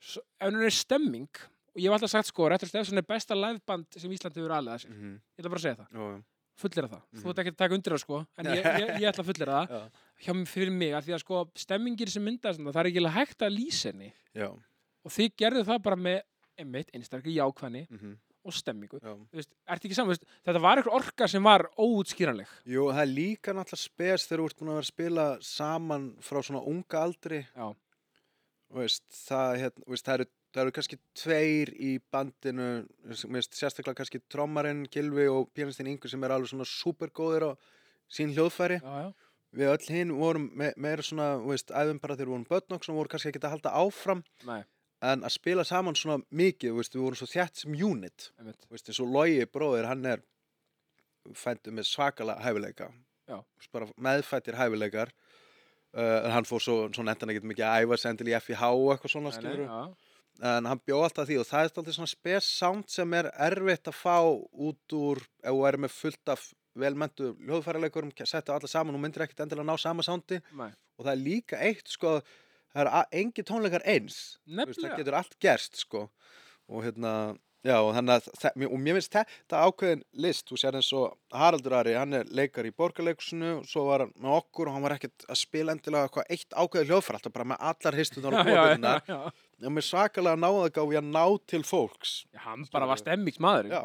Speaker 1: S- Ef hún er stemming, og ég hef alltaf sagt sko, Rettor Stefson er besta liveband sem Ísland hefur alið að sér.
Speaker 2: -hmm.
Speaker 1: Ég ætla bara að segja það
Speaker 2: já,
Speaker 1: fullera það. Þú
Speaker 2: Mhm.
Speaker 1: ert ekki að taka undir það sko, en ég, ég, ég ætla að fullera það
Speaker 2: já,
Speaker 1: hjá mér fyrir mig, af því að sko stemmingir sem myndast, þarna, það er ekki alveg hægt að lýsa henni
Speaker 2: já,
Speaker 1: og þið gerðu það bara með einmitt einstakri jákvæðni
Speaker 2: mhm,
Speaker 1: og stemmingu.
Speaker 2: já.
Speaker 1: Þú veist, ert ekki saman, þú veist, þetta var eitthvað orka sem var óútskýranleg.
Speaker 2: Jú, það er líka náttúrulega spes þegar þú ert búin að vera að spila saman frá svona unga aldri
Speaker 1: Já.
Speaker 2: Þú veist, það, hérna, þú veist, það, eru, það eru kannski tveir í bandinu þú veist, mér finnst sérstaklega kannski trommarinn Gilvi og pianistinn Ingu sem er alveg svona supergóðir á sín hljóðfæri
Speaker 1: Já, já.
Speaker 2: við öll hinn vorum me meira svona þú veist, æfum bara þegar við vorum börn og sem voru kannski ekki að halda áfram
Speaker 1: Nei,
Speaker 2: en að spila saman svona mikið þú veist, við vorum svo þjætt sem unit
Speaker 1: einmitt.
Speaker 2: Þú veist, eins og Logi bróðir hann er fændið með svakalega hæfileika
Speaker 1: Já.
Speaker 2: bara meðfættir hæfileikar uh, en hann fór svo, svo nettan ekki mikið að æfa sig endil í FIH og eitthvað svona
Speaker 1: Nei,
Speaker 2: skilur
Speaker 1: nei, já.
Speaker 2: en hann bjó alltaf því og það er alltaf svona spes sound sem er erfitt að fá út úr ef þú er með fullt af velmöntu hljóðfærileikurum, setja alla saman og myndir ekkert endilega ná sama soundi
Speaker 1: Nei.
Speaker 2: og það er líka eitt sko, það er a- engi tónleikar eins Þú veist, það
Speaker 1: Nefnilega.
Speaker 2: getur allt gerst sko og hérna, já og þannig að það, og mér finnst þetta ákveðin list þú sér eins og Haraldur Ari, hann er leikar í borgarleikusinu, svo var hann með okkur og hann var ekkert að spila endilega eitthvað eitt ákveðið hljóðfæri, alltaf bara með allar histunar og
Speaker 1: (laughs) já, já,
Speaker 2: bóðunar,
Speaker 1: já.
Speaker 2: og mér svakalega náðagáð í að ná til fólks
Speaker 1: Já, Hann bara var stemmingsmaður.
Speaker 2: já,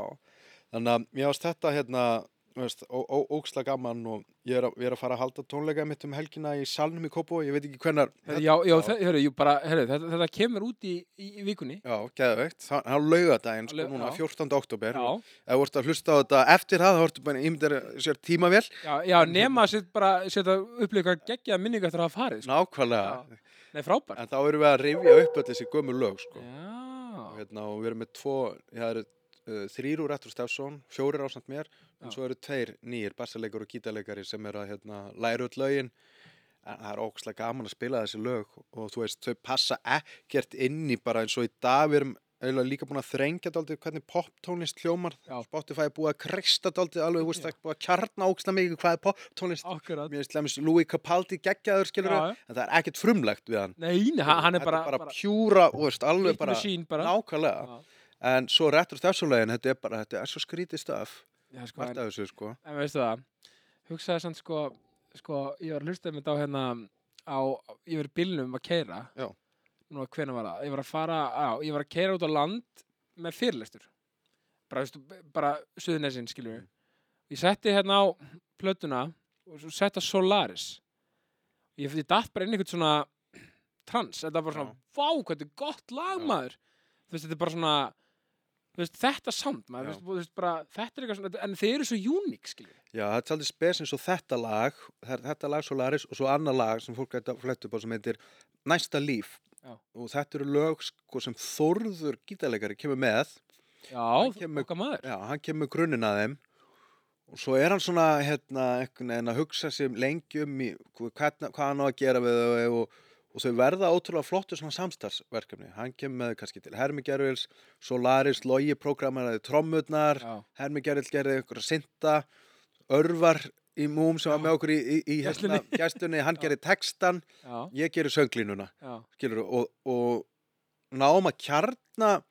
Speaker 2: þannig að mér finnst þetta hérna þú veist, ó- ó- óksla gaman og ég er, að, ég er að fara að halda tónleika mitt um helgina í salnum í Kobo, ég veit ekki hvenar
Speaker 1: Heyrðu, Já, já, þe- heyrðu, jú, bara, heyrðu, þetta, þetta kemur út í, í, í vikunni.
Speaker 2: Já, geðveikt, það er laugadaginn sko
Speaker 1: Laug-
Speaker 2: núna,
Speaker 1: já.
Speaker 2: 14. oktober
Speaker 1: Já,
Speaker 2: Ef þú ert að hlusta á þetta eftir það, þá ertu bara ímyndir sér tímavél.
Speaker 1: já, já
Speaker 2: hérna.
Speaker 1: nema að set bara, setja upplýka geggjað minningu eftir að hafa farið. sko.
Speaker 2: Nákvæmlega.
Speaker 1: Nei, frábært.
Speaker 2: En þá erum við að rifja upp öll þessi gömur lög, sko. Og
Speaker 1: Já,
Speaker 2: Hérna, og við erum með tvo, það eru uh, þrýr úr Rettur Stafsson, fjórir ásamt mér,
Speaker 1: Já.
Speaker 2: en svo eru tveir nýjir, bassalegur og gítarleikari sem eru að hérna, læra öll lögin. En það er ókslega gaman að spila þessi lög og þú veist, þau passa ekkert inn í bara eins og í dag við erum eiginlega líka búin að þrengja daldið hvernig poptónlist hljómar.
Speaker 1: Já.
Speaker 2: Spotify er búið að kreista daldið alveg, þú veist, það er búið að kjarna ókslega mikið hvað er poptónlist.
Speaker 1: akkurat
Speaker 2: mér finnst lemmis Louis Capaldi geggjaður skilur
Speaker 1: Já, já.
Speaker 2: en það er ekkert frumlegt við hann
Speaker 1: Nei, nei, hann hann er
Speaker 2: Þetta
Speaker 1: bara,
Speaker 2: bara, pjúra, þú veist, alveg bara
Speaker 1: sín bara
Speaker 2: nákvæmlega, en svo réttur stafsulegin þetta er bara, þetta er svo skrítið staf
Speaker 1: Já, sko,
Speaker 2: margt
Speaker 1: en,
Speaker 2: af þessu sko
Speaker 1: en veistu það Hugsaði samt sko, sko Ég var að hlusta með þá hérna á, Ég var í bílnum að keira
Speaker 2: Já.
Speaker 1: Nú, hvenær var það? Ég var að fara, á, ég var að keira út á land með fyrirlestur Bara, veistu, b- bara suðunesinn, skiljum
Speaker 2: Mm.
Speaker 1: við Ég setti hérna á plötuna og svo setti á Solaris Ég, ég datt bara inn í eitthvað svona trans, þetta var bara svona, vá, hvað þetta er gott
Speaker 2: Já.
Speaker 1: lagmaður Þú veist, þetta er bara svona
Speaker 3: þú veist, þetta samt maður,
Speaker 2: Já.
Speaker 3: þú veist, þú veist, bara, þetta er eitthvað svona en þeir eru svo uník, skilur
Speaker 2: Já, þetta er aldrei spes eins og þetta lag þe- þetta lag Solaris og svo annað lag sem fólk gæti að fletta upp á sem heitir Næsta líf
Speaker 3: Já.
Speaker 2: og þetta eru lög sko, sem Þórður gítarleikari kemur með
Speaker 3: já,
Speaker 2: kemur-
Speaker 3: okkar maður
Speaker 2: Já, hann kemur grunninn að þeim og svo er hann svona hérna, einhvern veginn að hugsa sér lengi um í, hvað, hvað hann á að gera við þau og, og þau verða ótrúlega flottu svona samstarfsverkefni. Hann kemur með þau kannski til Hermi Gervils, Solaris, Logi programmaraði trommurnar,
Speaker 3: já,
Speaker 2: Hermi Gervils gerði einhverja synda, Örvar í Múm sem var með okkur í, í, í hérna,
Speaker 3: Gæslunni.
Speaker 2: gæstunni, hann
Speaker 3: Já.
Speaker 2: gerði textan,
Speaker 3: já,
Speaker 2: ég gerði sönglínuna
Speaker 3: já,
Speaker 2: skilur og, og náum að kjarna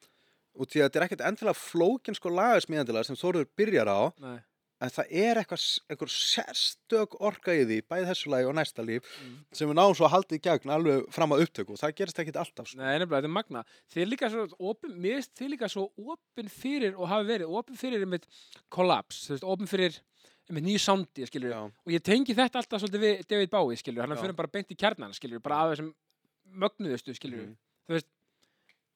Speaker 2: út í að þetta er ekkert endilega flókin sko lagarsmiðandilega sem Þóruður byrjar á
Speaker 3: nei
Speaker 2: en það er eitthvað, s- einhver sérstök orka í því, bæði þessu lagi og næsta líf
Speaker 3: Mm.
Speaker 2: sem við náum svo að halda í gegn alveg fram að upptöku og það gerist ekkert alltaf sko.
Speaker 3: Nei, nefnilega, þetta er magna. Þeir líka svo opin, mér finnst þeir líka svo opin fyrir og hafi verið, opin fyrir einmitt kollaps, þú veist, opin fyrir einmitt nýju sándi, skilur
Speaker 2: Já.
Speaker 3: Og ég tengi þetta alltaf svolítið við David Bowie, skilur hann
Speaker 2: Já.
Speaker 3: fyrir bara beint í kjarnan, skilur bara af þessum mögnuðustu, skilur
Speaker 2: Mhm.
Speaker 3: Þú veist,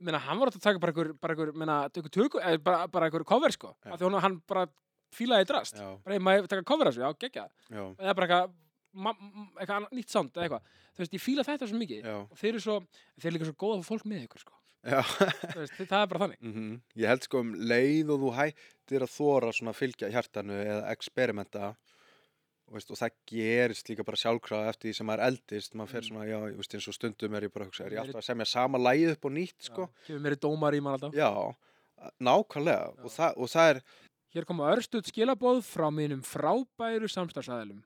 Speaker 3: menna, hann var átt að taka bara einhver, bara einhver, menna, einhver tökur, eða bara, bara einhver cover, sko.
Speaker 2: Já.
Speaker 3: Af því hann, hann bara fílaði í drast.
Speaker 2: Já,
Speaker 3: Bara, hey, maður taka cover af þessu, já, geggja.
Speaker 2: já,
Speaker 3: Eða bara eitthvað, ma- m- eitthvað annað- nýtt sound eða eitthvað. Þú veist, ég fíla þetta svo mikið
Speaker 2: já,
Speaker 3: og þeir eru svo, þeir eru líka svo góða fyrir fólk með
Speaker 2: (laughs)
Speaker 3: ykkur sko.
Speaker 2: já.
Speaker 3: Þú veist, það er bara þannig
Speaker 2: Mm Ég held sko um leið og þú hættir að þóra svona að fylgja hjartanu eða experimenta og, veist, og það gerist líka bara sjálfkrafa eftir því sem maður eldist maður fer
Speaker 3: Mm.
Speaker 2: svona, já, ég veist, eins og stundum er ég bara að hugsa er ég
Speaker 3: Meiri-
Speaker 2: alltaf að semja sama lægið upp og nýtt sko?
Speaker 3: Já, kemur meiri dómar í mann alltaf
Speaker 2: já. nákvæmlega
Speaker 3: Já.
Speaker 2: Og, það, og það er
Speaker 3: hér koma örstuð skilabóð frá mínum frábæru samstagsæðilum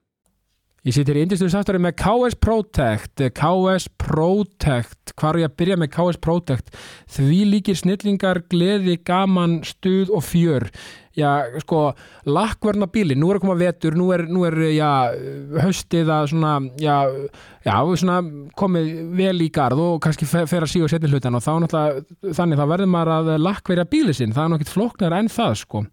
Speaker 1: Ég sittir í indistum samstarfi með KS Protect KS Protect Hvar er ég að byrja með KS Protect? Því líkir snillingar, gleði, gaman, stuð og fjör Já, sko, lakkverna bíli Nú er að koma vetur, nú er, nú er já, haustið að svona já, já, svona komið vel í garð og kannski fe- fer að síga setni hlutan og þá náttúrulega þannig þá verður maður að lakkverja bíli sinn það er nokkið flóknar enn það, sko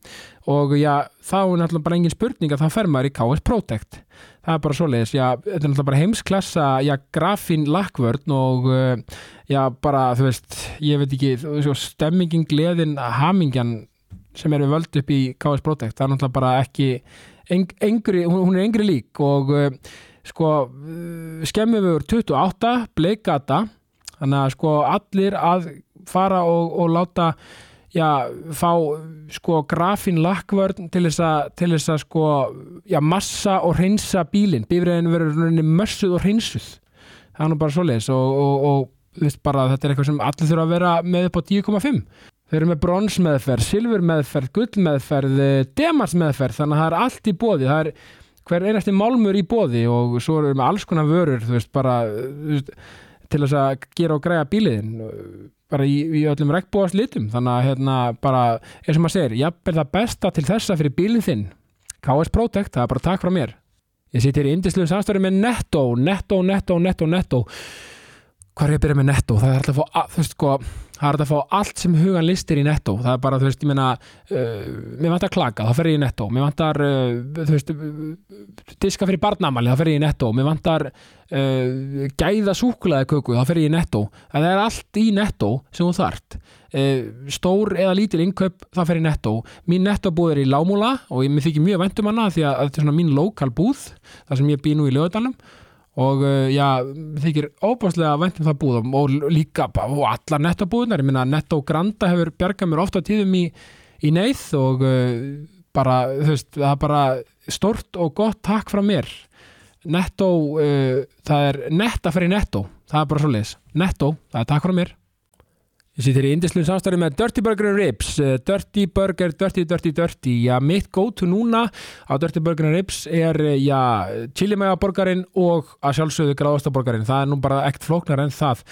Speaker 1: og já, þá er náttúrulega bara engin spurning að það fer maður í KS Protect það er bara svoleiðis, já, þetta er náttúrulega bara heimsklassa, já, grafín lakkvörn og uh, já, bara þú veist, ég veit ekki, þú veist, stemmingin, gleðin, hamingjan sem eru völd upp í KS Protect það er náttúrulega bara ekki eng, engri, hún, hún er engri lík og uh, sko, uh, skemmum við 28, bleikata þannig að sko allir að fara og, og láta já, fá sko grafín lakkvörn til þess að til þess að sko, já, massa og hreinsa bílinn, bifræðin verður rauninni mössuð og hreinsuð það er nú bara svoleiðis og, og, og þú veist bara að þetta er eitthvað sem allir þurfa að vera með upp á 10,5 Þau eru með bronsmeðferð, silfurmeðferð, gullmeðferð, demarsmeðferð, eh, þannig að það er allt í bóði, það er hver einasti málmur í bóði og svo eru með alls konar vörur, þú veist, bara eh, þú veist, til þess að gera og græja bíliðin, bara í, í öllum regnbúast litum, þannig að hérna bara, eins og maður segir, jafnvel það besta til þessa fyrir bílinn þinn, KS Protect, það er bara takk frá mér. Ég sitt hér í indislu samstöru með Netto, Netto, Netto, Netto, Netto, hvað er ég að byrja með Netto? Það er alltaf að fá, að- þú veist, sko, það er hægt að fá allt sem hugan listir í netto það er bara, þú veist, ég meina uh, mér vantar klaka, þá fer ég í netto mér vantar, uh, þú veist uh, diska fyrir barnamali, þá fer ég í netto mér vantar uh, gæða súkulaði köku, þá fer ég í netto það er allt í netto sem þú þart uh, stór eða lítil innkaup þá fer ég í netto, mín netto búð er í Lámúla og ég mér þykir mjög væntum hana því að þetta er svona mín lokal búð þar sem ég bý nú í lögadalum og uh, já, þykir óbáslega væntum það búðum og líka bara, og alla nettobúðunar, ég minna netto granda hefur bjargað mér ofta tíðum í, í neyð og uh, bara, þú veist, það er bara stort og gott takk frá mér netto, uh, það er netta fyrir netto, það er bara svoleiðis netto, það er takk frá mér Ég sittir í indislu samstarfi með Dirty Burger and Ribs Eh, Dirty Burger, Dirty, Dirty, Dirty Já, mitt go-to núna á Dirty Burger and Ribs er, eh, já, chilimægaborgarinn og að sjálfsögðu gráðastaborgarinn Það er nú bara ekkert flóknar en það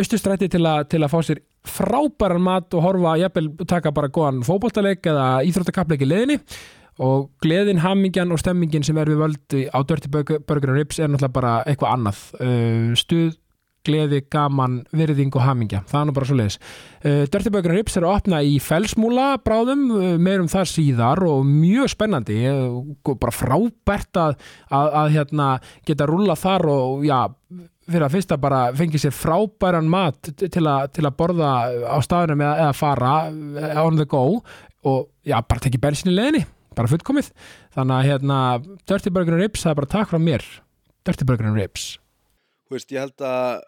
Speaker 1: Östustrætti til, að- til að fá sér frábæran mat og horfa, jafnvel taka bara góðan fótboltaleik eða íþróttakapleik í leðinni og gleðin, hamingjan og stemmingin sem er við völd á Dirty Burger Burger and Ribs er náttúrulega bara eitthvað annað Eh, stuð gleði, gaman, virðing og hamingja það er nú bara svo leiðis
Speaker 4: Eh,
Speaker 1: Dirty Burger and Rips er að opna í felsmúla bráðum, uh, meir um það síðar og mjög spennandi
Speaker 4: Eh,
Speaker 1: uh, bara frábært að, að, að hérna, geta rúla þar og já,
Speaker 4: fyrir að fyrsta bara fengið sér frábæran mat t- til, a, til að borða á staðunum eða, eða fara eh, on the go og já, bara tekið bensin í leðinni bara fullkomið þannig að hérna, Dirty Burger and Ribs, það er bara takk frá mér Dirty Burger and Ribs
Speaker 2: Þú veist, ég held að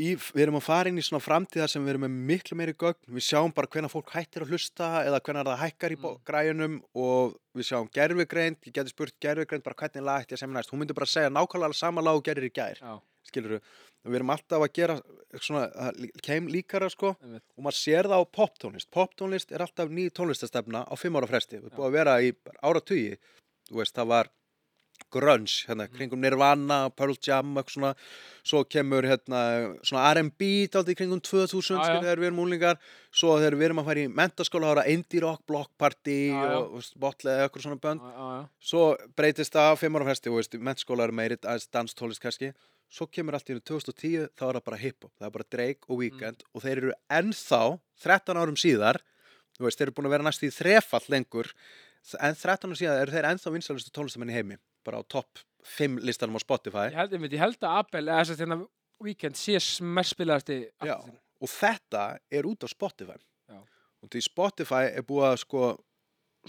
Speaker 2: í, við erum að fara inn í svona framtíða sem við erum með miklu meiri gögn, við sjáum bara hvenær fólk hættir að hlusta eða hvenær það hækkar í mm. græjunum og við sjáum gerfugreind, ég geti spurt gerfugreind bara hvernig lag ætti að semja næst, hún myndi bara segja nákvæmlega sama lag og gerir í gær,
Speaker 1: Já,
Speaker 2: skilur við við erum alltaf að gera svona það lí- keim líkara sko
Speaker 1: einmitt.
Speaker 2: og maður sér það á poptónlist poptónlist er alltaf ný tónlistastefna á fimm ára fresti, við erum búið að vera í ára tugi, þú veist, það var grunge, hérna,
Speaker 1: Mm.
Speaker 2: kringum Nirvana Pearl Jam, eitthvað svona svo kemur, hérna, svona R&B dálítið í kringum 2000,
Speaker 1: Já, já.
Speaker 2: skil, þegar við erum úlingar svo þegar við erum að fara í mentaskóla þá er það indie rock, block party
Speaker 1: Já, já.
Speaker 2: og, og botlega eða eitthvað svona bönd
Speaker 1: Já, já, já.
Speaker 2: svo breytist það á fimm ára fresti og veist, mennskóla er meiri aðeins danstólist kannski svo kemur allt í einu 2010 þá er það bara hiphop, það er bara Drake og Weekend og þeir eru ennþá 13 árum síðar þú veist, þeir eru búin að vera næst í þrefall lengur en 13 árum síðar eru þeir ennþá vinsalistu tónlistamenn í heimi bara á topp 5 listanum á Spotify
Speaker 1: Ég held, einmitt, ég held að Abel, eða þess að hérna Weekend sé mest spilaðasti
Speaker 2: Já,
Speaker 1: artistinn.
Speaker 2: og þetta er út á Spotify
Speaker 1: Já.
Speaker 2: og því Spotify er búið að sko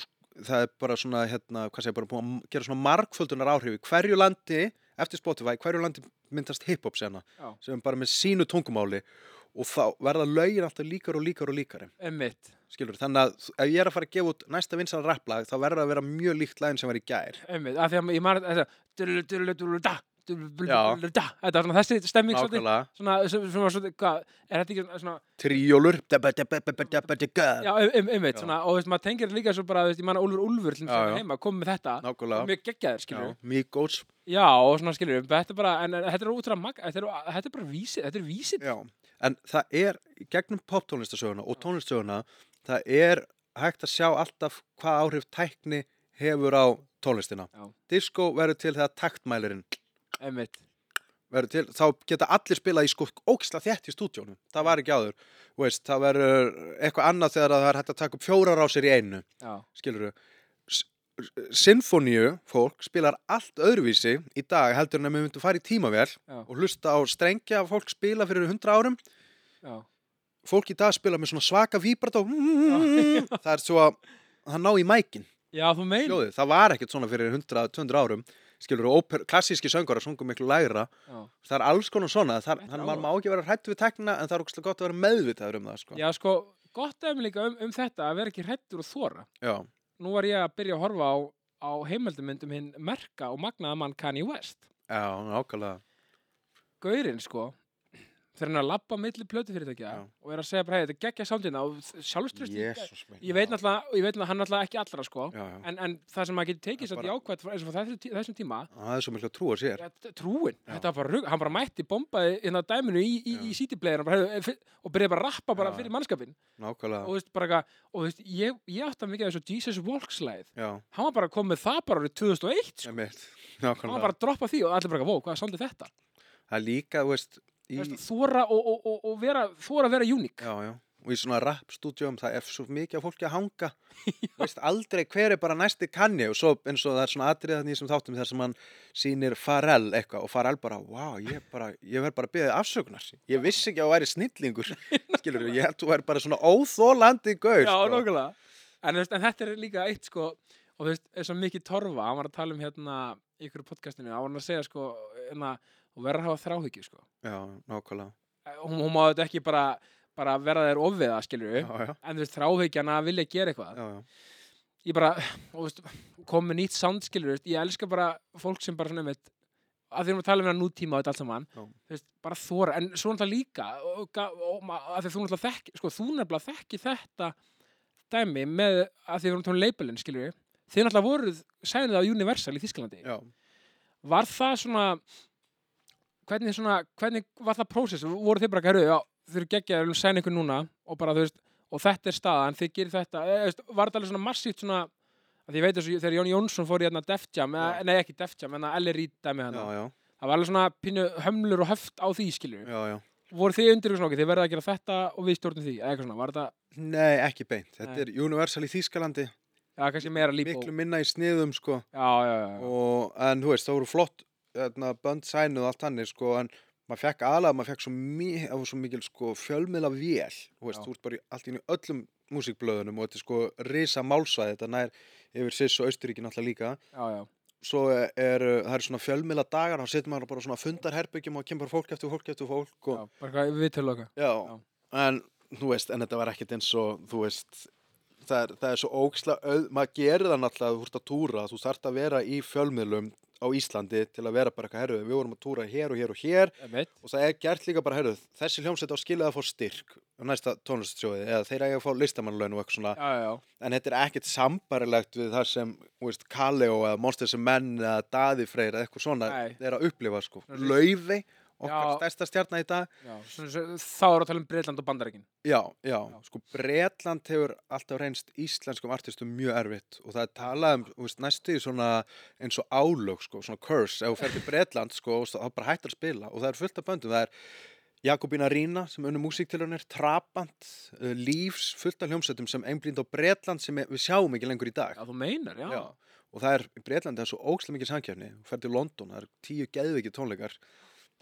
Speaker 2: sk- það er bara svona hérna, hvað segir, bara búið að m- gera svona margföldunar áhrif í hverju landi eftir Spotify, í hverju landi myndast hip-hop sena
Speaker 1: Já.
Speaker 2: sem er bara með sínu tungumáli og þá verða lögin alltaf líkar og líkar og líkari
Speaker 1: Einmitt,
Speaker 2: skilur, þannig að ef ég er að fara að gefa út næsta vinsal rapplag þá verður það að vera mjög líkt lagin sem var í gær
Speaker 1: einmitt, af því að ég man að þetta dullu, dullu, dullu, da, dullu, dullu,
Speaker 2: Já.
Speaker 1: dullu, da Þetta var svona þessi stemming svolítið
Speaker 2: nákvæmlega,
Speaker 1: Svona, svona, svona, svona, hvað, er þetta ekki svona
Speaker 2: tríólur dabba, dabba, dabba, dabba, dabba.
Speaker 1: Já, um- um- einmitt,
Speaker 2: Já.
Speaker 1: svona, og þú veist, maður tengir líka svo bara, þú veist, ég man að Úlfur Úlfur til
Speaker 2: Já, já.
Speaker 1: þess heima, kom með þetta
Speaker 2: nákvæmlega,
Speaker 1: Mjög geggjaðir, skilur
Speaker 2: Já, Migos
Speaker 1: Já, og svona skilur við, þetta er bara, en, en þetta er útrá mag, þetta er, þetta er bara vísið, þetta er vísið.
Speaker 2: Já, en það er í gegnum poptónlistasöguna og tónlistasöguna það er hægt að sjá alltaf hvað áhrif tækni hefur á tónlistina.
Speaker 1: Já.
Speaker 2: Disco verður til þegar taktmælirinn
Speaker 1: Einmitt,
Speaker 2: verður til, þá geta allir spilað í sko ógisla þétt í stúdjónum, það var ekki áður Þú veist, það verður eitthvað annað þegar það er hægt að taka upp fjórar á sér í einu
Speaker 1: já,
Speaker 2: skilur þau sinfoníu fólk spilar allt öðruvísi í dag heldur en að við myndum fara í tímavél
Speaker 1: Já.
Speaker 2: og hlusta á strengja að fólk spila fyrir 100 árum
Speaker 1: já,
Speaker 2: fólk í dag spila með svona svaka víbrat og það er svo að það ná í mækin,
Speaker 1: já, þú meina,
Speaker 2: hljóðið, það var ekkert svona fyrir 100-200 árum, skilur óper, klassíski söngur að sungu miklu lægra
Speaker 1: já,
Speaker 2: það er alls konar svona, það,
Speaker 1: Þetta er
Speaker 2: þannig að
Speaker 1: áhugavert.
Speaker 2: maður má ekki vera hrættu við tekna en það er ógustlega gott að vera meðvitaður um það sko.
Speaker 1: já, sko, gott dæmi líka um, um þetta að vera ekki hrættur og þóra.
Speaker 2: Já.
Speaker 1: Nú var ég að byrja að horfa á, á heimildumyndum hinn merka og magnaða mann Kanye West.
Speaker 2: Já, nákvæmlega
Speaker 1: Gaurinn, sko, þegar hann er að labba á milli plötu fyrirtækja
Speaker 2: Já.
Speaker 1: og er að segja bara, hei, þetta geggja samtíðna og sjálfströst,
Speaker 2: Jesús minn.
Speaker 1: ég veit náttúrulega, og ég veit náttúrulega, hann náttúrulega ekki allra, sko,
Speaker 2: Já, já.
Speaker 1: en, en það sem maður getur tekið
Speaker 2: Það
Speaker 1: samt
Speaker 2: bara-
Speaker 1: jákvætt frá- eins og frá þessu- þessum tíma,
Speaker 2: það er svo miklu að trúa sér
Speaker 1: Ja, t- trúin,
Speaker 2: Já.
Speaker 1: þetta var bara rugg hann bara mætti, bombaði hérna dæminu í, í, í
Speaker 2: Já.
Speaker 1: sítiplegin og, bara, heyrðu, eh, fyr- og byrjaði bara að rappa bara
Speaker 2: Já.
Speaker 1: fyrir mannskapin og
Speaker 2: nákvæmlega,
Speaker 1: þú veist bara eitthvað, og þú veist, ég, ég átti að mikið af þessu Jesus Walks leið,
Speaker 2: já,
Speaker 1: hann var bara að koma með það bara árið 2001, sko.
Speaker 2: emitt
Speaker 1: hann
Speaker 2: nákvæmlega,
Speaker 1: var bara að droppa því og allir bara, vó, hvað er svolítið þetta
Speaker 2: það er líka, þú veist
Speaker 1: Þú
Speaker 2: í,
Speaker 1: veist, þóra og, og, og, og vera þóra að vera uník,
Speaker 2: Já, já, og í svona rap-stúdjum það er svo mikið af fólki að
Speaker 1: (laughs)
Speaker 2: hanga veist aldrei hver er bara næsti kanni og svo eins og það er svona atrið þannig sem þáttum þar sem hann sýnir Farrell eitthvað og Farrell bara, wow, ég, bara, ég verð bara að beðið afsökunar, ég vissi ekki að þú væri snillingur,
Speaker 1: (laughs)
Speaker 2: skilur ég held þú væri bara svona óþólandi gaur
Speaker 1: já,
Speaker 2: sko.
Speaker 1: nokkulega en, þú veist, en þetta er líka eitt, sko og þú veist, eins og mikið torfa, hann var að tala um hérna í ykkur podcastinu, hann var að segja, sko hérna, og vera að hafa þráhyggju, sko
Speaker 2: Já, nákvæmlega
Speaker 1: Eh, hún, hún má þetta ekki bara, bara verða þér ofviða, skilur við
Speaker 2: Já, já,
Speaker 1: en þú veist, þráhyggjana að vilja gera eitthvað
Speaker 2: já, já,
Speaker 1: ég bara, og þú veist, kom með nýtt sound, skilur við ég elska bara fólk sem bara svona mitt að því erum að tala um hérna nútíma og þetta allt saman
Speaker 2: Já.
Speaker 1: þú veist, bara þóra, en svo náttúrulega líka og, og, og, að því þú náttúrulega þekki sko, þú nefnilega þekki þetta dæmi með, að því við erum tónum labelin, skilur við þið náttúrulega voruð, sæðin það á Universal í Þísklandi
Speaker 2: já.
Speaker 1: var það svona hvernig, svona, hvernig var það prósess voru þið bara að gæru, já, þið eru geggjaðir, við viljum sæna ykkur núna og bara, þú veist, og þetta er staðan þið gerir þetta, eða, þú veist, var þetta alveg svona massíft svona, að ég veit þessu, þegar Jón Jónsson fór í hérna Def Jam,
Speaker 2: Já.
Speaker 1: eða, nei ekki Def Jam en að Ellie Reid dæmi
Speaker 2: Já,
Speaker 1: hann,
Speaker 2: já,
Speaker 1: það var alveg svona pínu hömlur og höft á því, skilju,
Speaker 2: já, já.
Speaker 1: voru þið undir ykkur svona, ok, þið verða að gera þetta og við stjórnum því, eða eitthvað svona, var þetta
Speaker 2: Nei, ekki beint, þetta
Speaker 1: Nei.
Speaker 2: er Universal í Þýskalandi
Speaker 1: já, kannski meira líp
Speaker 2: miklu minna í sniðum sko
Speaker 1: já, já, já, já,
Speaker 2: og, en þú veist, það voru flott hérna, bönd sænu og allt þannig sko, en maður fekk aðlega, maður fekk svo, mi það var svo mikil sko, fjölmiðla vél þú veist,
Speaker 1: Já.
Speaker 2: þú ert bara í, allt í einu í öllum músikblöðunum og þetta er sko risa málsvæði þetta nær yfir Siss og Austuríki náttúrulega líka
Speaker 1: já, já,
Speaker 2: svo er, eru- það eru svona fjölmiðla dagar þá setur maður bara svona fundarherbyggjum og kemur bara fólk eftir fólk eftir fólk og,
Speaker 1: já, bara hvað við til okkar
Speaker 2: já. en þú veist, en þetta var ekkert eins og þú veist, það er, það er svo óksla auð, maður gerir það náttúrulega þú ert að túra, þú þarft að vera í fjölmiðlum á Íslandi til að vera bara eitthvað herruð við vorum að túra hér og hér og hér
Speaker 1: einmitt,
Speaker 2: og það er gert líka bara herruð, þessi hljómsveit á skilið að fá styrk á næsta tónlistsjóði eða þeir eiga að fá listamannlaun og eitthvað svona
Speaker 1: já, já,
Speaker 2: en þetta er ekkert sambarilegt við það sem, þú veist, Kaleo eða Monsters and Men eða Daði Freyr eða eitthvað svona
Speaker 1: Nei.
Speaker 2: er að upplifa sko
Speaker 1: Svona-
Speaker 2: Laufi, okkar
Speaker 1: Já.
Speaker 2: stærsta stjarnar í dag
Speaker 1: já. Svona, svo- þá er að tala um Breitland og Bandaríkin
Speaker 2: Já, já, sko Bretland hefur alltaf reynst íslenskum artistum mjög erfitt og það er talað um, þú veist, næstu í svona eins og álög, sko, svona curse ef þú fer til Bretland, sko, og það bara hættar að spila og það er fullt af böndum, það er Jakobína Rína sem unnu músíktilunir, Trabant, uh, Lífs, fullt af hljómsveitum sem einblínd á Bretland sem við sjáum ekki lengur í dag
Speaker 1: já, þú meinar, já,
Speaker 2: og það er, í Breitlandi er svo ókslega mikið samkjöfni þú fer til London, það er tíu geðviki tónleikar